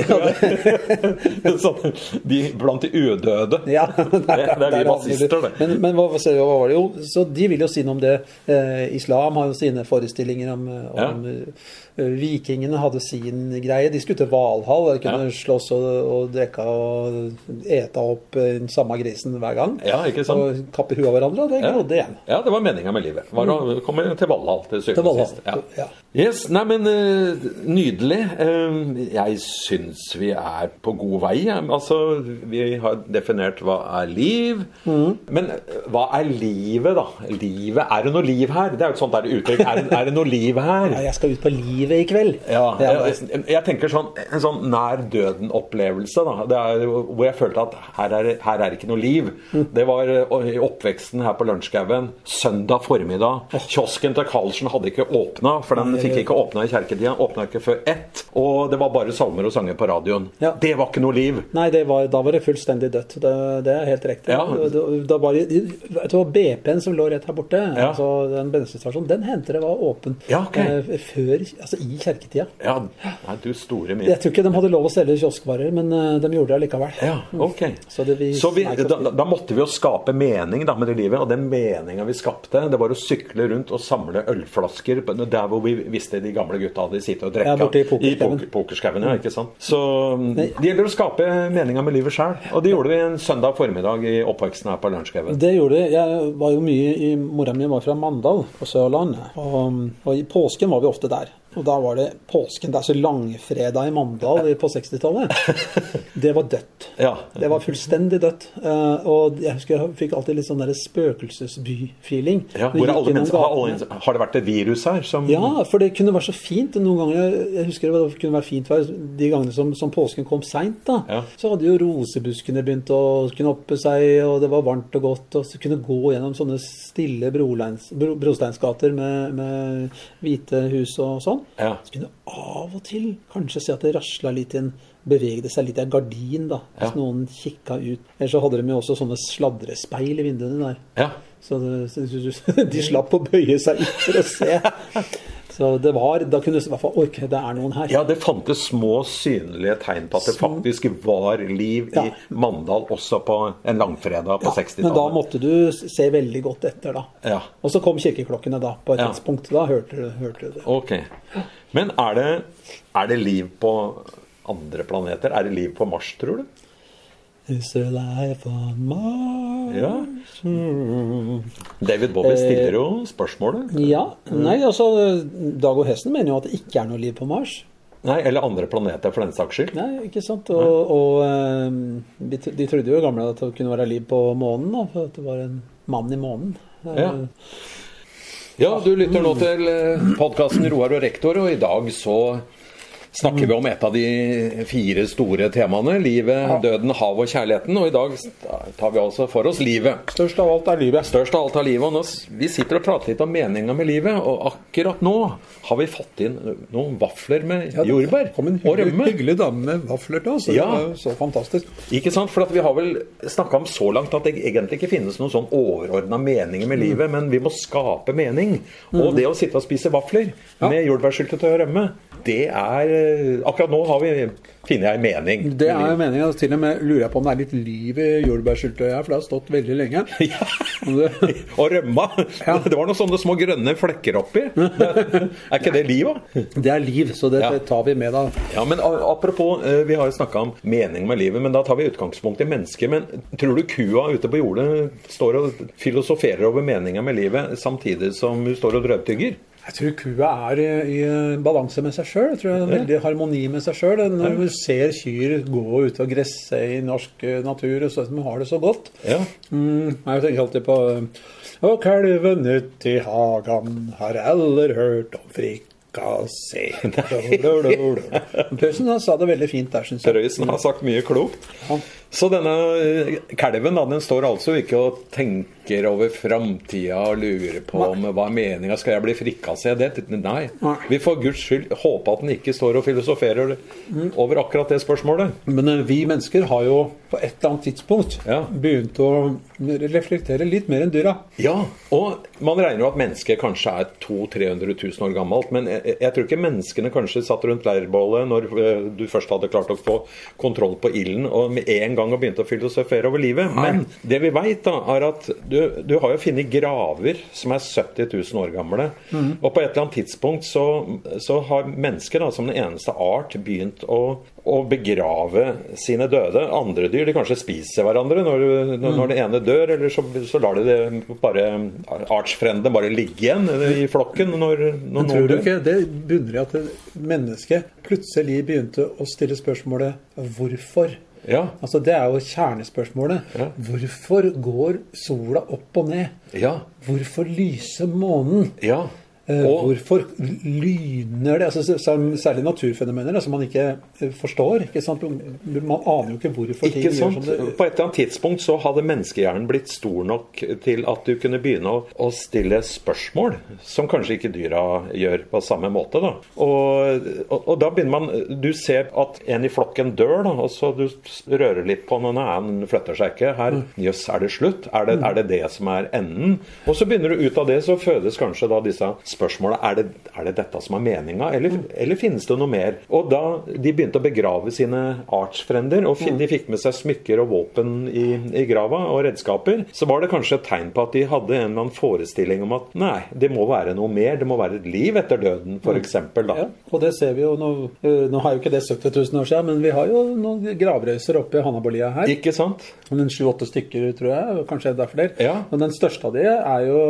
[SPEAKER 1] sånn, de, blant de udøde.
[SPEAKER 2] Ja,
[SPEAKER 1] det er vi
[SPEAKER 2] der
[SPEAKER 1] bassister, det.
[SPEAKER 2] Men, men hva, hva hva var det jo? Så de vil jo si noe om det. Eh, islam har jo sine forestillinger om, eh,
[SPEAKER 1] Ja.
[SPEAKER 2] om eh, Vikingene hadde sin greie. De skulle til Valhall. De kunne
[SPEAKER 1] Ja.
[SPEAKER 2] slåss og, og drikke og ete opp eh, den samme grisen hver gang.
[SPEAKER 1] Ja, ikke sant?
[SPEAKER 2] Og kappe huet av hverandre, og det
[SPEAKER 1] Ja.
[SPEAKER 2] grodde igjen.
[SPEAKER 1] Ja, det var meninga med livet. Var å komme til Valhall til
[SPEAKER 2] Mm. Til
[SPEAKER 1] syvende og
[SPEAKER 2] Valhall,
[SPEAKER 1] sist. Ja.
[SPEAKER 2] ja.
[SPEAKER 1] Yes, nei, men eh, Nydelig. Eh, Jeg syns vi er på god vei. ja. Altså, Vi har definert hva er liv.
[SPEAKER 2] Mm.
[SPEAKER 1] Men eh, hva er livet, da? Livet, Er det noe liv her? Det er jo et sånt der uttrykk. Er, det- er det noe liv her?
[SPEAKER 2] Ja, jeg skal ut på livet i kveld.
[SPEAKER 1] Ja,
[SPEAKER 2] det er,
[SPEAKER 1] jeg, jeg, jeg tenker sånn, En sånn nær døden-opplevelse. da det er, jo- Hvor jeg følte at her er, her er det ikke noe liv.
[SPEAKER 2] Mm.
[SPEAKER 1] Det var eh, i oppveksten her på Lunsjskauen. Søndag formiddag. Kiosken til Karlsen hadde ikke åpna, for den fikk ikke åpna i kjerketida. Åpna ikke før ett. Og det var bare salmer og sanger på radioen.
[SPEAKER 2] Ja.
[SPEAKER 1] Det var ikke noe liv.
[SPEAKER 2] Nei, det var, da var det fullstendig dødt. Det, det er helt riktig.
[SPEAKER 1] Ja.
[SPEAKER 2] Da, da var det, vet du hva, BP-en som lå rett her borte,
[SPEAKER 1] Ja.
[SPEAKER 2] altså den bensinstasjonen, den hendte det var åpen
[SPEAKER 1] Ja, ok.
[SPEAKER 2] eh, før, altså i kjerketida.
[SPEAKER 1] Ja, nei, du store min.
[SPEAKER 2] Jeg tror ikke de hadde lov å selge kioskvarer, men eh, de gjorde det allikevel.
[SPEAKER 1] Ja, ok.
[SPEAKER 2] Mm. Så det vi-
[SPEAKER 1] Så vi,
[SPEAKER 2] Nei,
[SPEAKER 1] da, da- da måtte vi jo skape mening da, med det livet, og den meninga vi skapte, det var å sykle rundt og samle ølflasker på- der hvor vi visste de gamle gutta hadde sittet og drekka.
[SPEAKER 2] Ja, borte i pokerskauen. Mm.
[SPEAKER 1] poker- pokerskauen, ja, ikke sant. Så mm, det gjelder å skape meninga med livet sjøl, og det gjorde vi en søndag formiddag i oppveksten her på Lørenskauen.
[SPEAKER 2] Det gjorde jeg. Jeg var jo mye i Mora mi var fra Mandal på Sørlandet. Og, og i påsken var vi ofte der. Og da var det påsken. Det er så langfredag i Mandal på 60-tallet. Det var dødt.
[SPEAKER 1] Ja.
[SPEAKER 2] Det var fullstendig dødt. Eh, Og jeg husker jeg fikk alltid litt sånn der spøkelsesby-feeling.
[SPEAKER 1] Ja, hvor er
[SPEAKER 2] Vi gikk
[SPEAKER 1] alle
[SPEAKER 2] gjennom
[SPEAKER 1] mennesker, har, alle,
[SPEAKER 2] gatene.
[SPEAKER 1] mennesker- har det vært et virus her som
[SPEAKER 2] Ja, for det kunne være så fint. Noen ganger, jeg husker det var- kunne være fint vær de gangene som, som påsken kom seint. da.
[SPEAKER 1] Ja.
[SPEAKER 2] Så hadde jo rosebuskene begynt å knoppe seg, og det var varmt og godt. Og så kunne gå gjennom sånne stille broleins, bro, brosteinsgater med, med hvite hus og sånn.
[SPEAKER 1] Ja.
[SPEAKER 2] Så kunne du av og til kanskje se at det rasla litt i en Bevegde seg litt i en gardin, da,
[SPEAKER 1] Ja.
[SPEAKER 2] hvis noen kikka ut. Eller så hadde de jo også sånne sladrespeil i vinduene der.
[SPEAKER 1] Ja.
[SPEAKER 2] Så det, så- så- så- de slapp å bøye seg ut for å se. Så det var, da kunne du i hvert fall orke, det er noen her.
[SPEAKER 1] Ja, det fantes små synlige tegn på at det faktisk var liv i
[SPEAKER 2] Ja.
[SPEAKER 1] Mandal også på en langfredag på
[SPEAKER 2] Ja, Men da
[SPEAKER 1] 60-tallet.
[SPEAKER 2] måtte du se veldig godt etter, da.
[SPEAKER 1] Ja.
[SPEAKER 2] Og så kom kirkeklokkene da, på et
[SPEAKER 1] Ja.
[SPEAKER 2] tidspunkt. Da hørte du, hørte du det.
[SPEAKER 1] Ok. Men er det, er det liv på andre planeter? Er det liv på Mars, tror du?
[SPEAKER 2] Is there life on Mars?
[SPEAKER 1] Ja. David
[SPEAKER 2] Eh,
[SPEAKER 1] Bowie stiller jo spørsmålet.
[SPEAKER 2] Ja,
[SPEAKER 1] Mm.
[SPEAKER 2] Nei, altså Dag og Hesten mener jo at det ikke er noe liv på Mars.
[SPEAKER 1] Nei, eller andre planeter, for den saks skyld.
[SPEAKER 2] Nei, ikke sant? Og, og eh, de, tro- de trodde jo i gamle at det kunne være liv på månen, da, for at det var en mann i månen. Eh,
[SPEAKER 1] Ja. Ja, du lytter nå til podkasten Roar og rektor, og i dag så snakker vi om et av de fire store temaene. Livet, døden, havet og kjærligheten. Og i dag tar vi altså for oss livet.
[SPEAKER 2] Størst av alt er livet.
[SPEAKER 1] Størst av alt av livet. Og nå, s- vi sitter og prater litt om meninga med livet, og akkurat nå har vi fått inn noen vafler med
[SPEAKER 2] Ja, det
[SPEAKER 1] jordbær
[SPEAKER 2] kom en
[SPEAKER 1] og
[SPEAKER 2] hyggelig,
[SPEAKER 1] rømme.
[SPEAKER 2] hyggelig dame med vafler til oss.
[SPEAKER 1] Ja.
[SPEAKER 2] Det var jo så fantastisk.
[SPEAKER 1] Ikke sant? For at vi har vel snakka om så langt at det egentlig ikke finnes noen sånn overordna meninger
[SPEAKER 2] Mm.
[SPEAKER 1] med livet, men vi må skape mening. Og det å sitte og spise vafler med jordbærsyltetøy og rømme, det er eh, Akkurat nå har vi funnet ei mening.
[SPEAKER 2] Det er jo meningen. og Til og med lurer jeg på om det er litt liv i jordbærsyltetøyet her, for det har stått veldig lenge.
[SPEAKER 1] Ja.
[SPEAKER 2] Og det-
[SPEAKER 1] Og rømma.
[SPEAKER 2] Ja.
[SPEAKER 1] Det var noen sånne små grønne flekker oppi. Er ikke det livet?
[SPEAKER 2] Det er liv, så det
[SPEAKER 1] Ja.
[SPEAKER 2] det tar vi med da.
[SPEAKER 1] Ja, men a- Apropos, eh, vi har jo snakka om mening med livet, men da tar vi utgangspunkt i mennesket. Men tror du kua ute på jordet står og filosoferer over meninga med livet samtidig som hun står og drøvtygger?
[SPEAKER 2] Jeg tror kua er i, i balanse med seg sjøl. Jeg tror det er veldig harmoni med seg sjøl. Når du ser kyr gå ute og gresse i norsk eh, natur, og så de har det så godt.
[SPEAKER 1] Ja.
[SPEAKER 2] Mm, jeg tenker alltid på eh, Og kalven uti hagan har aller hørt om frikassé. Pausen han sa det veldig fint der, syns jeg.
[SPEAKER 1] Røisen har sagt mye klokt.
[SPEAKER 2] Ja.
[SPEAKER 1] Så denne eh, kalven da, den står altså ikke og tenker over framtida og lurer på om hva er meninga, skal jeg bli frikkasse? Det, nei.
[SPEAKER 2] Nei.
[SPEAKER 1] Vi får guds skyld håpe at den ikke står og filosoferer over akkurat det spørsmålet.
[SPEAKER 2] Men eh, vi mennesker har jo på et eller annet tidspunkt
[SPEAKER 1] Ja.
[SPEAKER 2] begynt å reflektere litt mer enn dyra.
[SPEAKER 1] Ja, og man regner jo at mennesket kanskje er 200 000-300 000 år gammelt, men jeg, jeg tror ikke menneskene kanskje satt rundt leirbålet når eh, du først hadde klart å få kontroll på ilden og med en gang og begynte å filosofere over livet. Men det vi veit, da, er at du, du har jo funnet graver som er 70 000 år gamle.
[SPEAKER 2] Mm.
[SPEAKER 1] Og på et eller annet tidspunkt så, så har mennesker da, som den eneste art begynt å, å begrave sine døde. Andre dyr de kanskje spiser hverandre når, du-
[SPEAKER 2] Mm.
[SPEAKER 1] når, når det ene dør, eller så, så lar de det bare artsfrendene bare ligge igjen i flokken når, når
[SPEAKER 2] Men
[SPEAKER 1] noen
[SPEAKER 2] tror du
[SPEAKER 1] dør.
[SPEAKER 2] ikke det bunner i at det- mennesket plutselig begynte å stille spørsmålet hvorfor?
[SPEAKER 1] Ja.
[SPEAKER 2] Altså Det er jo kjernespørsmålet.
[SPEAKER 1] Ja.
[SPEAKER 2] Hvorfor går sola opp og ned?
[SPEAKER 1] Ja.
[SPEAKER 2] Hvorfor lyser månen?
[SPEAKER 1] Ja.
[SPEAKER 2] Eh,
[SPEAKER 1] Og,
[SPEAKER 2] Hvorfor lyner det? Altså, s- som, særlig naturfenomener da, som man ikke eh, forstår. Ikke sant? Man aner jo ikke hvorfor
[SPEAKER 1] Ikke
[SPEAKER 2] ting
[SPEAKER 1] sant?
[SPEAKER 2] gjør som det
[SPEAKER 1] På et eller annet tidspunkt så hadde menneskehjernen blitt stor nok til at du kunne begynne å, å stille spørsmål som kanskje ikke dyra gjør på samme måte. da. Og, og, og da begynner man Du ser at en i flokken dør, da, og så du s- rører litt på den, og han flytter seg ikke. Her,
[SPEAKER 2] Mm.
[SPEAKER 1] jøss, er det slutt? Er det, er det det som er enden? Og så begynner du ut av det, så fødes kanskje da disse spørsmåla. Er, det- er det dette som er meninga, eller, eller finnes det noe mer? Og da de begynte å begrave sine artsfrender, og fin- de fikk med seg smykker og våpen i, i grava, og redskaper, så var det kanskje et tegn på at de hadde en eller annen forestilling om at nei, det må være noe mer, det må være et liv etter døden, f.eks. da.
[SPEAKER 2] Ja, og det ser vi jo nå. eh, Nå har jo ikke det 70 000 år siden, men vi har jo noen gravrøyser oppe i Hanabolia her.
[SPEAKER 1] Ikke sant?
[SPEAKER 2] Om en sju-åtte stykker, tror jeg. og Kanskje det er flere.
[SPEAKER 1] Ja.
[SPEAKER 2] Men den største av de er jo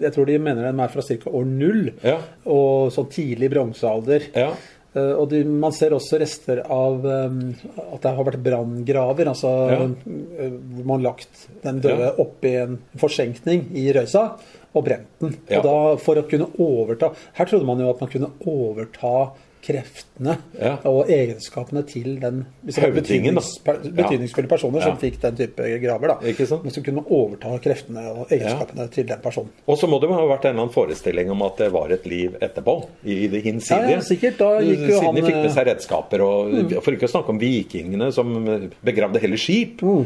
[SPEAKER 2] Jeg tror de mener den er fra ca. år over null,
[SPEAKER 1] Ja.
[SPEAKER 2] og sånn tidlig bronsealder.
[SPEAKER 1] Ja.
[SPEAKER 2] Eh, og de, man ser også rester av eh, at det har vært branngraver, altså
[SPEAKER 1] Ja.
[SPEAKER 2] eh, hvor man lagt den døde
[SPEAKER 1] Ja.
[SPEAKER 2] oppi en forsenkning i røysa og brent den.
[SPEAKER 1] Ja.
[SPEAKER 2] Og da for å kunne overta Her trodde man jo at man kunne overta kreftene
[SPEAKER 1] Ja.
[SPEAKER 2] og egenskapene til den hvis det var
[SPEAKER 1] Høvdingen, da.
[SPEAKER 2] betydnings, per,
[SPEAKER 1] Ja.
[SPEAKER 2] betydningsfulle personer som
[SPEAKER 1] Ja.
[SPEAKER 2] fikk den type graver. da.
[SPEAKER 1] Ikke sant?
[SPEAKER 2] Men så kunne man overta kreftene og egenskapene til den personen.
[SPEAKER 1] Og så må det jo ha vært en eller annen forestilling om at det var et liv etterpå, i det hinsidige.
[SPEAKER 2] Ja, ja, sikkert. Da gikk jo
[SPEAKER 1] Siden de
[SPEAKER 2] han, eh, Mm.
[SPEAKER 1] fikk med seg redskaper, og for ikke å snakke om vikingene som begravde hele skip.
[SPEAKER 2] Mm.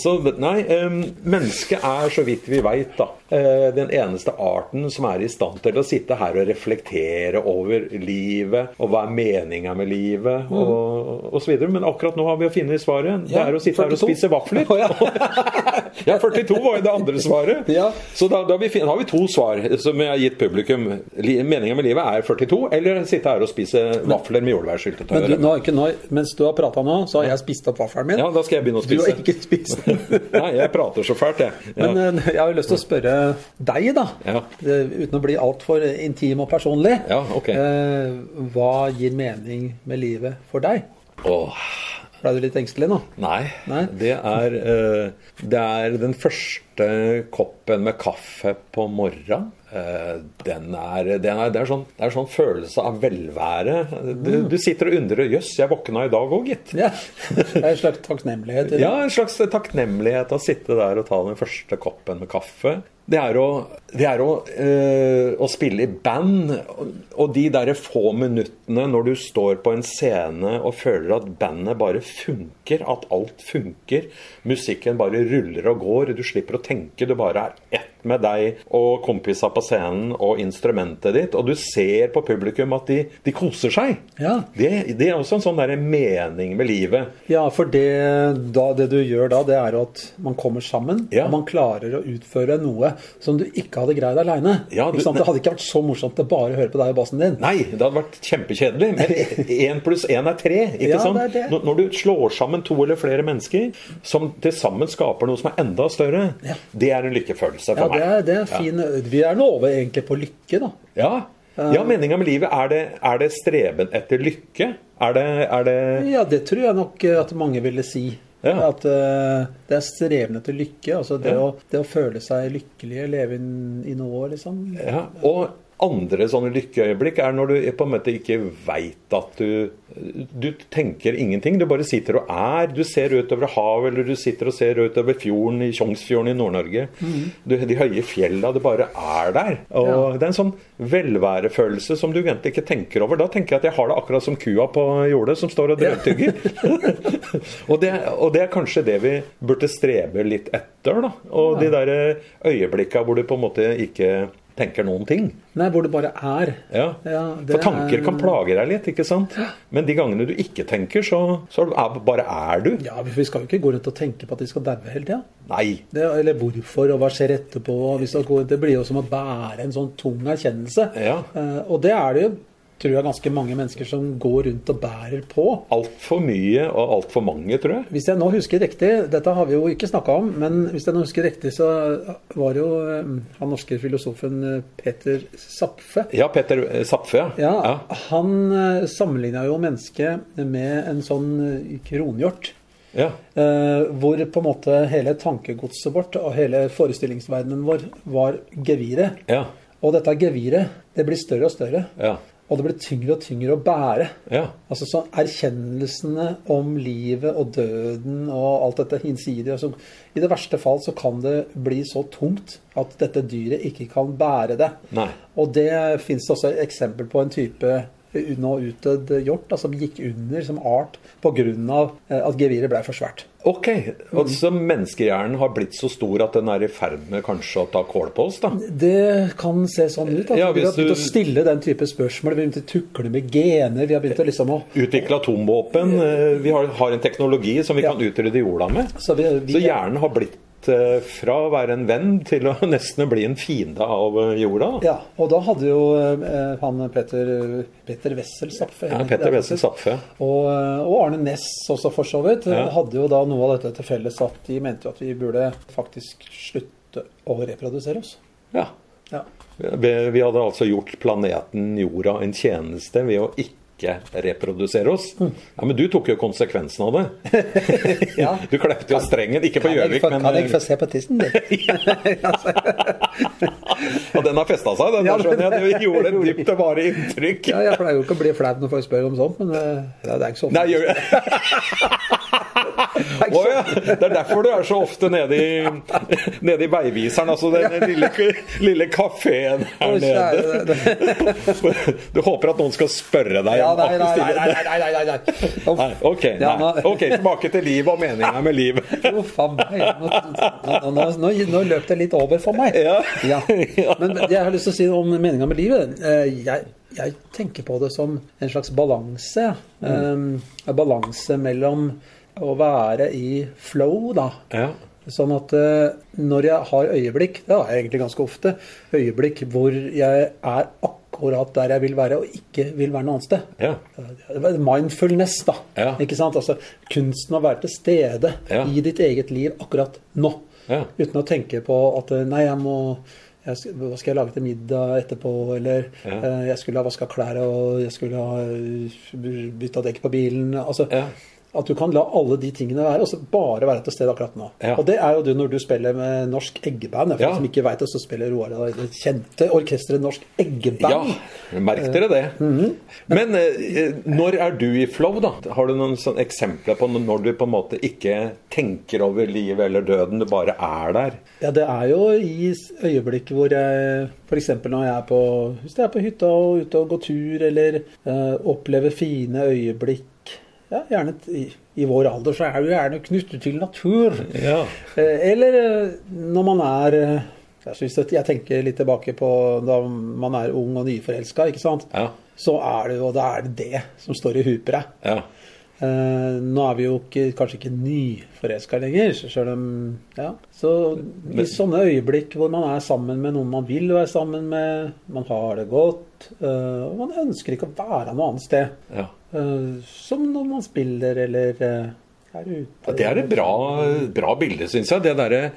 [SPEAKER 1] Så nei, em, mennesket er, så vidt vi veit, da, eh, den eneste arten som er i stand til å sitte her og reflektere over livet, og hva er meninga med livet, og, og så videre. Men akkurat nå har vi å finne svaret. Det
[SPEAKER 2] Mm. Ja,
[SPEAKER 1] er å sitte her og
[SPEAKER 2] 42.
[SPEAKER 1] spise vafler.
[SPEAKER 2] Å, ja.
[SPEAKER 1] Ja, 42 var jo det andre svaret.
[SPEAKER 2] Ja.
[SPEAKER 1] Så da, da, har vi, fin- har vi to svar som jeg har gitt publikum. Meninga med livet er 42, eller sitte her og spise vafler med jordbærsyltetøy.
[SPEAKER 2] Men du, nå, har ikke, nå, mens du har prata nå, så har jeg spist opp vaffelen min.
[SPEAKER 1] Ja, da skal jeg begynne å
[SPEAKER 2] Du har
[SPEAKER 1] spise.
[SPEAKER 2] ikke spist den.
[SPEAKER 1] Nei, jeg prater så fælt, jeg. Ja.
[SPEAKER 2] Men eh, jeg har jo lyst til å spørre deg, da.
[SPEAKER 1] Ja.
[SPEAKER 2] eh, Uten å bli altfor intim og personlig.
[SPEAKER 1] Ja, ok.
[SPEAKER 2] Eh, Hva gir mening med livet for deg?
[SPEAKER 1] Åh,
[SPEAKER 2] Ble du litt engstelig nå?
[SPEAKER 1] nei.
[SPEAKER 2] eh, Nei.
[SPEAKER 1] Det, er, eh, det er den første koppen med kaffe på morgenen. Eh, den er, den er, det, er sånn, det er sånn følelse av velvære. Du, du sitter og undrer 'jøss, jeg våkna i dag òg, gitt'.
[SPEAKER 2] Mm. Ja. Det er en slags takknemlighet. i det.
[SPEAKER 1] Ja, en slags takknemlighet å sitte der og ta den første koppen med kaffe. Det er å, det er å, eh, å spille i band, og- og de derre få minuttene når du står på en scene og føler at bandet bare funker, at alt funker, musikken bare ruller og går, du slipper å tenke, du bare er ett med deg og kompisa på scenen og instrumentet ditt, og du ser på publikum at de, de koser seg.
[SPEAKER 2] Ja.
[SPEAKER 1] Det, det er også en sånn derre mening med livet.
[SPEAKER 2] Ja, for det, da, det du gjør da, det er jo at man kommer sammen,
[SPEAKER 1] Ja.
[SPEAKER 2] og man klarer å utføre noe som du ikke hadde greid aleine.
[SPEAKER 1] Ja, du-
[SPEAKER 2] det hadde ikke vært så morsomt å bare høre på deg og bassen din.
[SPEAKER 1] Nei, det hadde vært kjempekjedelig. Men én pluss én er tre. ikke
[SPEAKER 2] Ja,
[SPEAKER 1] sant?
[SPEAKER 2] det er det.
[SPEAKER 1] Når- Når du slår sammen to eller flere mennesker som til sammen skaper noe som er enda større,
[SPEAKER 2] Ja.
[SPEAKER 1] det er en lykkefølelse
[SPEAKER 2] Ja,
[SPEAKER 1] for
[SPEAKER 2] det er,
[SPEAKER 1] meg.
[SPEAKER 2] det er fin. Vi er nå over egentlig på lykke, da.
[SPEAKER 1] Ja, ja meninga med livet. Er det, er det streben etter lykke? Er det, er det
[SPEAKER 2] Ja, det tror jeg nok eh, at mange ville si.
[SPEAKER 1] Ja.
[SPEAKER 2] At eh, det er streven etter lykke. Altså det,
[SPEAKER 1] Ja.
[SPEAKER 2] å, det å føle seg lykkelig, leve inn i noe, liksom.
[SPEAKER 1] ja. Og andre sånne lykkeøyeblikk er når du på en måte ikke veit at du Du tenker ingenting. Du bare sitter og er. Du ser utover havet, eller du sitter og ser utover fjorden i Tjongsfjorden i Nord-Norge. Du- De høye fjella, det bare er der. Og
[SPEAKER 2] Ja.
[SPEAKER 1] det er en sånn velværefølelse som du egentlig ikke tenker over. Da tenker jeg at jeg har det akkurat som kua på jordet som står og drøvtygger. og, det, og det er kanskje det vi burde strebe litt etter, da. Og de derre øyeblikka hvor du på en måte ikke tenker noen ting.
[SPEAKER 2] Nei, hvor det bare er.
[SPEAKER 1] Ja.
[SPEAKER 2] Ja, det
[SPEAKER 1] For tanker
[SPEAKER 2] er-
[SPEAKER 1] kan plage deg litt, ikke sant? Men de gangene du ikke tenker, så, så er, bare er du.
[SPEAKER 2] Ja, Vi skal jo ikke gå rundt og tenke på at de skal daue hele tida.
[SPEAKER 1] Nei.
[SPEAKER 2] Det, eller hvorfor, og hva skjer etterpå. og Hvis det, går, det blir jo som å bære en sånn tung erkjennelse.
[SPEAKER 1] Ja.
[SPEAKER 2] Eh, og det er det jo, tror jeg, ganske mange mennesker som går rundt og bærer på.
[SPEAKER 1] Altfor mye og altfor mange, tror jeg.
[SPEAKER 2] Hvis jeg nå husker riktig, dette har vi jo ikke snakka om, men hvis jeg nå husker riktig, så var jo eh, han norske filosofen eh, Peter Zapfe
[SPEAKER 1] Ja, Peter eh, Zapfe, ja.
[SPEAKER 2] ja, Han sammenligna jo mennesket med en sånn eh, kronhjort.
[SPEAKER 1] ja. ja.
[SPEAKER 2] Eh, hvor på en måte hele tankegodset vårt og hele forestillingsverdenen vår var geviret.
[SPEAKER 1] Ja.
[SPEAKER 2] Og dette geviret det blir større og større.
[SPEAKER 1] Ja.
[SPEAKER 2] Og det blir tyngre og tyngre å bære.
[SPEAKER 1] ja.
[SPEAKER 2] Altså så Erkjennelsene om livet og døden og alt dette hinsidige altså, I det verste fall så kan det bli så tungt at dette dyret ikke kan bære det.
[SPEAKER 1] Nei.
[SPEAKER 2] Og det fins også et eksempel på en type nå utdødd hjort da, som gikk under som art pga. eh, at geviret ble for svært.
[SPEAKER 1] Ok, og
[SPEAKER 2] Mm.
[SPEAKER 1] så menneskehjernen har blitt så stor at den er i ferd med kanskje å ta kål på oss, da?
[SPEAKER 2] Det kan se sånn ut. At
[SPEAKER 1] Ja,
[SPEAKER 2] vi har
[SPEAKER 1] hvis du-
[SPEAKER 2] begynt å stille den type spørsmål. Vi har begynt å tukle med gener. Vi har begynt å liksom å
[SPEAKER 1] Utvikle atomvåpen. eh, Vi har, har en teknologi som vi
[SPEAKER 2] Ja.
[SPEAKER 1] kan utrydde jorda med.
[SPEAKER 2] Så vi, vi,
[SPEAKER 1] Så hjernen har blitt eh, fra å være en venn til å nesten bli en fiende av eh, jorda.
[SPEAKER 2] Ja, og da hadde jo eh, han Petter, Petter Wessel Zapfe
[SPEAKER 1] Ja, Petter Wessel Zapfe.
[SPEAKER 2] Og, eh, og Arne Næss også, for så vidt.
[SPEAKER 1] Ja.
[SPEAKER 2] Hadde jo da noe av dette til felles at de mente jo at vi burde faktisk slutte å reprodusere oss.
[SPEAKER 1] Ja.
[SPEAKER 2] Ja.
[SPEAKER 1] Vi, vi hadde altså gjort planeten jorda en tjeneste ved å ikke reprodusere oss. Ja, Men du tok jo konsekvensen av det.
[SPEAKER 3] Ja.
[SPEAKER 1] Du klepte jo strengen. Ikke på
[SPEAKER 3] Kan jeg
[SPEAKER 1] Gjøvik,
[SPEAKER 3] få-
[SPEAKER 1] men
[SPEAKER 3] Kan jeg få se på tissen din?
[SPEAKER 1] Ja, den har festa seg, den.
[SPEAKER 3] Ja,
[SPEAKER 1] Da skjønner jeg.
[SPEAKER 3] den-
[SPEAKER 1] Det gjorde et dypt og varig inntrykk.
[SPEAKER 2] Ja, jeg pleier jo ikke å bli flau når folk spør om sånt, men eh, det er ikke så ofte.
[SPEAKER 1] Nei, gjør
[SPEAKER 2] ikke sånn.
[SPEAKER 1] Å ja. Det er derfor du er så ofte nede i, nede i veiviseren, altså den lille, lille kafeen her
[SPEAKER 2] Å, kjære,
[SPEAKER 1] nede. Du håper at noen skal spørre deg?
[SPEAKER 3] Ja,
[SPEAKER 1] om
[SPEAKER 3] nei, nei,
[SPEAKER 1] akkurat
[SPEAKER 3] nei,
[SPEAKER 1] stille-
[SPEAKER 3] nei, nei, nei, nei, nei. Uff.
[SPEAKER 1] Nei, ok,
[SPEAKER 2] Ja,
[SPEAKER 1] nei.
[SPEAKER 2] nå-
[SPEAKER 1] ok, tilbake til livet og meninga med livet.
[SPEAKER 2] Uff a meg. Nå, nå, nå, nå, nå løp det litt over for meg.
[SPEAKER 1] Ja.
[SPEAKER 2] Ja. Men det jeg har lyst til å si om meninga med livet eh, jeg, jeg tenker på det som en slags balanse. ja.
[SPEAKER 3] Mm.
[SPEAKER 2] Eh, En balanse mellom å være i flow, da.
[SPEAKER 1] Ja.
[SPEAKER 2] Sånn at eh, når jeg har øyeblikk, det har jeg egentlig ganske ofte, øyeblikk hvor jeg er akkurat der jeg vil være og ikke vil være noe annet sted.
[SPEAKER 1] Ja.
[SPEAKER 2] Eh, Mindfulness, da.
[SPEAKER 1] Ja.
[SPEAKER 2] Ikke sant? Altså, kunsten å være til stede
[SPEAKER 1] Ja.
[SPEAKER 2] i ditt eget liv akkurat nå.
[SPEAKER 1] Ja.
[SPEAKER 2] Uten å tenke på at eh, nei, jeg må jeg, sk- hva skal jeg lage til middag etterpå? Eller
[SPEAKER 1] Ja.
[SPEAKER 2] eh, jeg skulle ha vaska klær, og jeg skulle ha eh, bytta dekk på bilen. Altså,
[SPEAKER 1] Ja.
[SPEAKER 2] At du kan la alle de tingene være, og så bare være til stede akkurat nå.
[SPEAKER 1] Ja.
[SPEAKER 2] Og det er jo du når du spiller med norsk eggeband. For
[SPEAKER 1] Ja.
[SPEAKER 2] de som ikke veit det, så spiller Roar i det kjente orkesteret Norsk
[SPEAKER 1] ja,
[SPEAKER 2] Eggeband.
[SPEAKER 1] merk dere det. Men eh, når er du i flow, da? Har du noen sånne eksempler på når du på en måte ikke tenker over livet eller døden, du bare er der?
[SPEAKER 2] Ja, det er jo i s- øyeblikk hvor jeg f.eks. når jeg er på, hvis jeg er på hytta og ute og går tur, eller eh, opplever fine øyeblikk ja, gjerne t- i, I vår alder så er du gjerne knyttet til natur.
[SPEAKER 1] Ja.
[SPEAKER 2] Eh, eller eh, når man er eh, jeg, synes at jeg tenker litt tilbake på da man er ung og nyforelska, ikke sant.
[SPEAKER 1] Ja.
[SPEAKER 2] Så er det jo da er det det som står i huet på deg.
[SPEAKER 1] ja.
[SPEAKER 2] Eh, nå er vi jo ikke, kanskje ikke nyforelska lenger, sjøl om Ja. Så i sånne øyeblikk hvor man er sammen med noen man vil være sammen med, man har det godt, eh, og man ønsker ikke å være noe annet sted.
[SPEAKER 1] ja.
[SPEAKER 2] Eh, som når man spiller eller eh, er
[SPEAKER 1] Ja,
[SPEAKER 2] ute.
[SPEAKER 1] Det er et bra, bra bilde, syns jeg. Det derre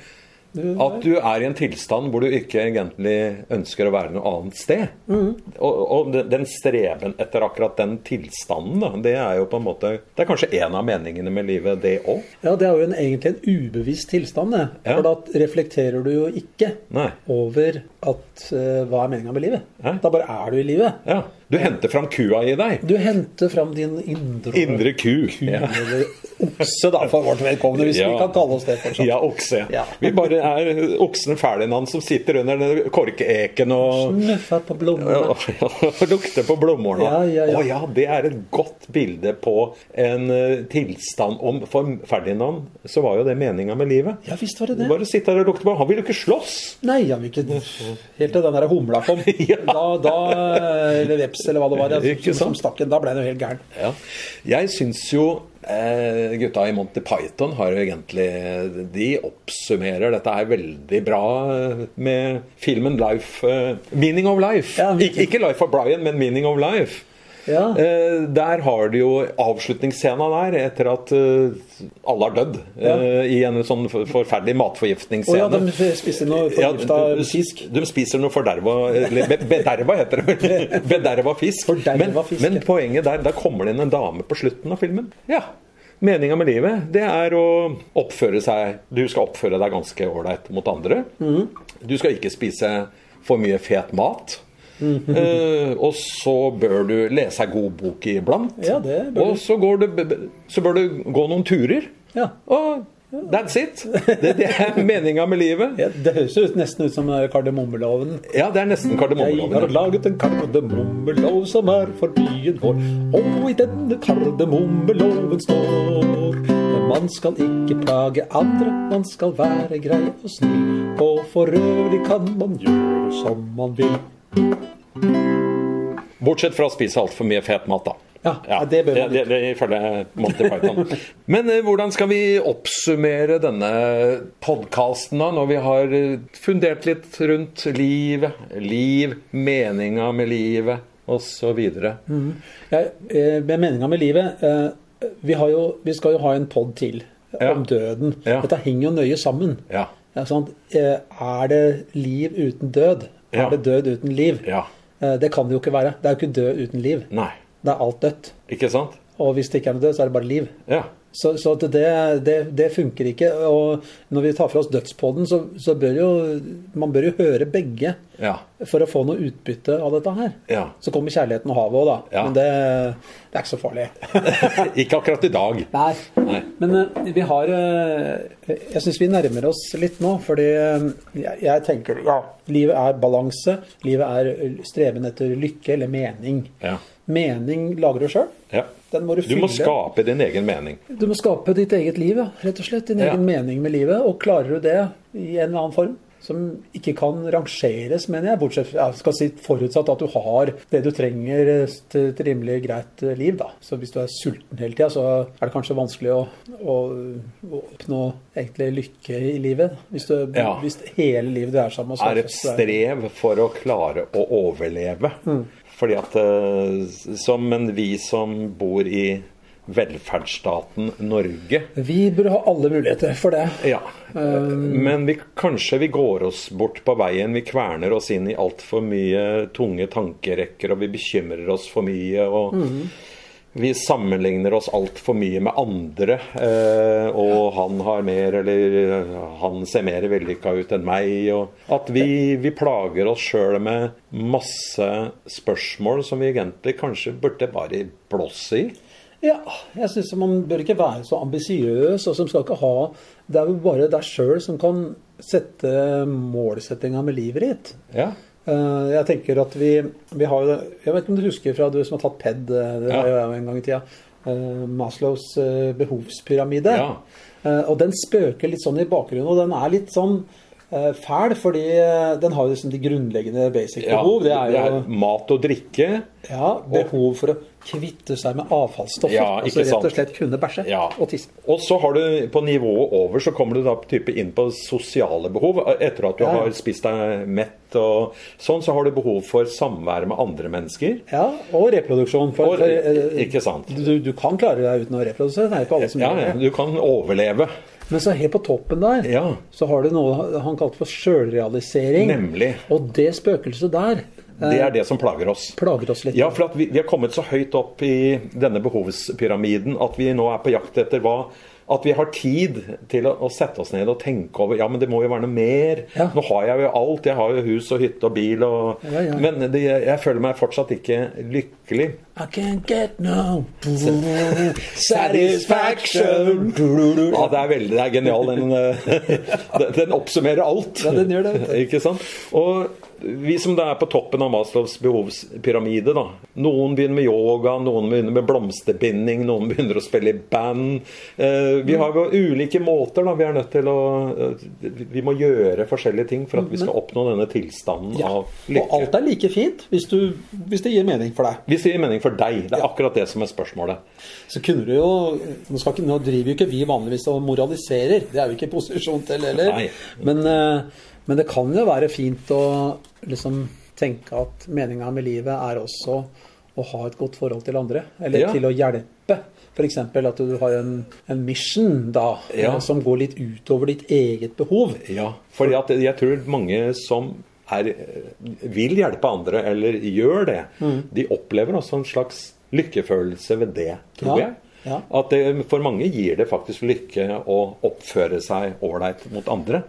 [SPEAKER 1] at du er i en tilstand hvor du ikke egentlig ønsker å være noe annet sted. Og, og den- den streben etter akkurat den tilstanden, da, det er jo på en måte Det er kanskje en av meningene med livet, det òg?
[SPEAKER 2] Ja, det er jo en, egentlig en ubevisst tilstand, det.
[SPEAKER 1] Ja.
[SPEAKER 2] For da reflekterer du jo ikke
[SPEAKER 1] Nei.
[SPEAKER 2] over at eh, hva er meninga med livet.
[SPEAKER 1] Hæ?
[SPEAKER 2] Da bare er du i livet.
[SPEAKER 1] Ja. Du henter fram kua i deg.
[SPEAKER 2] Du henter fram din indre
[SPEAKER 1] Indre ku. Ja.
[SPEAKER 2] Eller okse, da, for vårt vedkommende, hvis vi
[SPEAKER 1] Ja.
[SPEAKER 2] kan kalle oss det. sånn. fortsatt.
[SPEAKER 1] Ja, okse.
[SPEAKER 2] Ja.
[SPEAKER 1] Vi bare er oksen Ferdinand som sitter under den korkeeken og
[SPEAKER 2] Snuffer på blommene.
[SPEAKER 1] og lukter på blomstene.
[SPEAKER 2] Ja, ja, ja.
[SPEAKER 1] Å ja, det er et godt bilde på en eh, tilstand om For Ferdinand så var jo det meninga med livet.
[SPEAKER 2] Ja visst var det
[SPEAKER 1] Du
[SPEAKER 2] det.
[SPEAKER 1] Bare sitte her og lukte på Han ville jo ikke slåss!
[SPEAKER 2] Nei, han vil ikke Helt til den der humla kom.
[SPEAKER 1] Ja.
[SPEAKER 2] Da, da, eller veps, eller hva det var, ja,
[SPEAKER 1] Ikke
[SPEAKER 2] som, som
[SPEAKER 1] sant?
[SPEAKER 2] stakk en. Da ble han jo helt gæren.
[SPEAKER 1] Ja. Jeg syns jo eh, gutta i Monty Python har jo egentlig De oppsummerer dette her veldig bra eh, med filmen Life eh, Meaning of Life.
[SPEAKER 2] Ja, men-
[SPEAKER 1] Ik ikke Life of Brian, men Meaning of Life.
[SPEAKER 2] Ja.
[SPEAKER 1] Eh, der har du jo avslutningsscena der, etter at eh, alle har dødd. eh, I en sånn for- forferdelig
[SPEAKER 2] Å
[SPEAKER 1] matforgiftningsscene.
[SPEAKER 2] ja, de spiste noe
[SPEAKER 1] Ja,
[SPEAKER 2] forgifta
[SPEAKER 1] de-
[SPEAKER 2] fisk.
[SPEAKER 1] De spiser noe forderva Eller be- bederva, heter det vel. Bederva fisk.
[SPEAKER 2] Forderva
[SPEAKER 1] men,
[SPEAKER 2] fisk,
[SPEAKER 1] men
[SPEAKER 2] ja.
[SPEAKER 1] poenget der, der kommer det inn en dame på slutten av filmen. Ja. Meninga med livet, det er å oppføre seg Du skal oppføre deg ganske ålreit mot andre.
[SPEAKER 2] Mhm.
[SPEAKER 1] Du skal ikke spise for mye fet mat.
[SPEAKER 2] Mhm.
[SPEAKER 1] Eh, og så bør du lese ei god bok iblant.
[SPEAKER 2] Ja, det bør du.
[SPEAKER 1] Og så, går du, b- b- så bør du gå noen turer.
[SPEAKER 2] Ja.
[SPEAKER 1] Og that's it! Det, det er meninga med livet.
[SPEAKER 2] Ja, det høres jo ut- nesten ut som eh, kardemommeloven.
[SPEAKER 1] Ja, det er nesten
[SPEAKER 2] Jeg har
[SPEAKER 1] kardemommeloven.
[SPEAKER 2] laget en kardemommelov som er for byen vår. Og i denne kardemommeloven står at man skal ikke plage andre, man skal være grei og snill. Og for øvrig kan man gjøre som man vil.
[SPEAKER 1] Bortsett fra å spise altfor mye fet mat, da.
[SPEAKER 2] Ja, ja, det bør man
[SPEAKER 1] det, det, Ifølge eh, Monty Python. Men eh, hvordan skal vi oppsummere denne podkasten, da? Når vi har eh, fundert litt rundt livet, liv, meninga med livet osv. Mm.
[SPEAKER 2] Jeg, eh, med meninga med livet eh, vi, har jo, vi skal jo ha en pod til
[SPEAKER 1] Ja.
[SPEAKER 2] om døden.
[SPEAKER 1] Ja.
[SPEAKER 2] Dette henger jo nøye sammen.
[SPEAKER 1] Ja.
[SPEAKER 2] Ja, sant? Eh, Er det liv uten død? Er
[SPEAKER 1] Ja.
[SPEAKER 2] det død uten liv?
[SPEAKER 1] Ja. Mm.
[SPEAKER 2] Eh, Det kan det jo ikke være. Det er jo ikke død uten liv.
[SPEAKER 1] Nei.
[SPEAKER 2] Det er alt dødt.
[SPEAKER 1] Ikke sant?
[SPEAKER 2] Og hvis det ikke er noe død, så er det bare liv.
[SPEAKER 1] Ja.
[SPEAKER 2] Så, så at det, det, det funker ikke. Og når vi tar fra oss dødspodden, så, så bør jo man bør jo høre begge
[SPEAKER 1] Ja.
[SPEAKER 2] for å få noe utbytte av dette her.
[SPEAKER 1] Ja.
[SPEAKER 2] Så kommer kjærligheten og havet òg, da.
[SPEAKER 1] Ja.
[SPEAKER 2] Men det, det er ikke så farlig.
[SPEAKER 1] Ikke akkurat i dag.
[SPEAKER 2] Nei.
[SPEAKER 1] Nei.
[SPEAKER 2] Men eh, vi har eh, Jeg syns vi nærmer oss litt nå, fordi eh, jeg, jeg tenker ja, livet er balanse. Livet er streben etter lykke eller mening.
[SPEAKER 1] Ja.
[SPEAKER 2] Mening lager du sjøl.
[SPEAKER 1] Ja.
[SPEAKER 2] Den må du
[SPEAKER 1] Du må
[SPEAKER 2] fylle.
[SPEAKER 1] skape din egen mening.
[SPEAKER 2] Du må skape ditt eget liv, ja. rett og slett. Din
[SPEAKER 1] Ja.
[SPEAKER 2] egen mening med livet. Og klarer du det i en eller annen form, som ikke kan rangeres, mener jeg, bortsett fra jeg skal si forutsatt at du har det du trenger eh, til et rimelig greit eh, liv, da. Så hvis du er sulten hele tida, så er det kanskje vanskelig å, å, å oppnå egentlig lykke i livet. Hvis, du,
[SPEAKER 1] Ja.
[SPEAKER 2] hvis hele livet dreier seg om å
[SPEAKER 1] er
[SPEAKER 2] skaffe
[SPEAKER 1] et
[SPEAKER 2] seg- Mm.
[SPEAKER 1] strev for å klare å overleve. Fordi at eh, som men vi som bor i velferdsstaten Norge
[SPEAKER 2] Vi burde ha alle muligheter for det.
[SPEAKER 1] ja. Men vi, kanskje vi går oss bort på veien. Vi kverner oss inn i altfor mye tunge tankerekker, og vi bekymrer oss for mye. og Vi sammenligner oss altfor mye med andre. Eh, og han har mer, eller eh, han ser mer vellykka ut enn meg. Og at vi, vi plager oss sjøl med masse spørsmål som vi egentlig kanskje burde bare blåse i.
[SPEAKER 2] Ja, jeg syns man bør ikke være så ambisiøs, og som skal ikke ha Det er jo bare deg sjøl som kan sette målsettinga med livet ditt.
[SPEAKER 1] Ja.
[SPEAKER 2] Eh, Jeg tenker at vi, vi har jo Jeg vet ikke om du husker fra du som har tatt PED, eh, det var jo jeg en gang i tida. eh, Maslows eh, behovspyramide.
[SPEAKER 1] Ja.
[SPEAKER 2] Eh, Og den spøker litt sånn i bakgrunnen, og den er litt sånn eh, fæl, fordi eh, den har jo liksom de grunnleggende basic
[SPEAKER 1] Ja,
[SPEAKER 2] behov. Det er jo
[SPEAKER 1] mat og drikke.
[SPEAKER 2] ja, behov for å kvitte seg med avfallsstoffer.
[SPEAKER 1] Ja,
[SPEAKER 2] altså
[SPEAKER 1] ikke
[SPEAKER 2] rett og
[SPEAKER 1] sant.
[SPEAKER 2] slett kunne bæsje
[SPEAKER 1] Ja.
[SPEAKER 2] og tisse.
[SPEAKER 1] Og så har du på nivået over, så kommer du da type inn på sosiale behov. Etter at du
[SPEAKER 2] Ja, ja.
[SPEAKER 1] har spist deg mett og sånn, så har du behov for samvær med andre mennesker.
[SPEAKER 2] Ja, og reproduksjon. For,
[SPEAKER 1] Og-
[SPEAKER 2] for, eh,
[SPEAKER 1] ikke sant.
[SPEAKER 2] Du, du kan klare deg uten å reprodusere, det er ikke alle som
[SPEAKER 1] Ja,
[SPEAKER 2] gjør
[SPEAKER 1] ja,
[SPEAKER 2] det.
[SPEAKER 1] du kan overleve.
[SPEAKER 2] Men så helt på toppen der,
[SPEAKER 1] Ja.
[SPEAKER 2] så har du noe han kalte for sjølrealisering.
[SPEAKER 1] Nemlig.
[SPEAKER 2] Og det spøkelset der eh,
[SPEAKER 1] Det er det som plager oss.
[SPEAKER 2] plager oss litt.
[SPEAKER 1] Ja, for at vi, vi har kommet så høyt opp i denne behovspyramiden at vi nå er på jakt etter hva At vi har tid til å, å sette oss ned og tenke over Ja, men det må jo være noe mer.
[SPEAKER 2] Ja.
[SPEAKER 1] Nå har jeg jo alt. Jeg har jo hus og hytte og bil og
[SPEAKER 2] Ja, ja.
[SPEAKER 1] Men det, jeg føler meg fortsatt ikke lykkelig.
[SPEAKER 2] I can't get no satisfaction.
[SPEAKER 1] Ja, det er veldig det er genial. Den, eh, den- den oppsummerer alt.
[SPEAKER 2] Ja, den gjør det, vet du.
[SPEAKER 1] Ikke sant? Og vi som da er på toppen av Maslows behovspyramide, da. Noen begynner med yoga, noen begynner med blomsterbinding, noen begynner å spille i band. Eh, Vi har jo ulike måter, da. Vi er nødt til å eh, Vi må gjøre forskjellige ting for at vi skal oppnå denne tilstanden
[SPEAKER 2] Ja.
[SPEAKER 1] av
[SPEAKER 2] Og alt
[SPEAKER 1] lykke.
[SPEAKER 2] er like fint hvis, du, hvis det gir mening for deg.
[SPEAKER 1] Hvis det gir mening for deg. Det er akkurat det som er spørsmålet.
[SPEAKER 2] Så kunne du jo Nå, skal ikke, nå driver jo ikke vi vanligvis og moraliserer, det er vi ikke i posisjon til heller.
[SPEAKER 1] Nei.
[SPEAKER 2] Men, eh, men det kan jo være fint å liksom tenke at meninga med livet er også å ha et godt forhold til andre, eller
[SPEAKER 1] Ja.
[SPEAKER 2] til å hjelpe. F.eks. at du har en, en mission da,
[SPEAKER 1] Ja.
[SPEAKER 2] eh, som går litt utover ditt eget behov.
[SPEAKER 1] Ja, fordi at jeg tror mange som er, vil hjelpe andre, eller gjør det,
[SPEAKER 2] Mm.
[SPEAKER 1] de opplever også en slags lykkefølelse ved det, tror
[SPEAKER 2] Ja,
[SPEAKER 1] jeg.
[SPEAKER 2] ja.
[SPEAKER 1] At det, For mange gir det faktisk lykke å oppføre seg ålreit mot andre.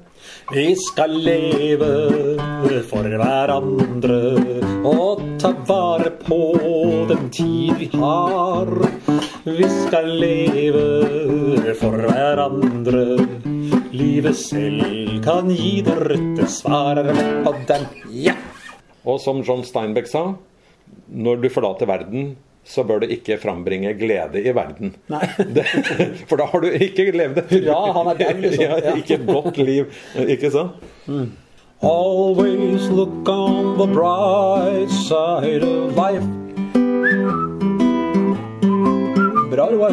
[SPEAKER 2] Vi skal leve for hverandre og ta vare på den tid vi har. Vi skal leve for hverandre. Livet selv kan gi det rette svaret på den. Ja!
[SPEAKER 1] Og som John Steinbeck sa, når du forlater verden, så bør du ikke frambringe glede i verden.
[SPEAKER 2] Nei.
[SPEAKER 1] Det, for da har du ikke levd et
[SPEAKER 2] Hurra, han er dau, liksom.
[SPEAKER 1] Ja,
[SPEAKER 2] Ja.
[SPEAKER 1] ikke et godt liv. Ikke sant?
[SPEAKER 2] Always look on the bright side of life. Bra, Roar.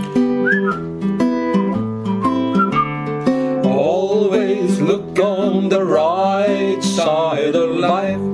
[SPEAKER 4] Always look on the right side of life.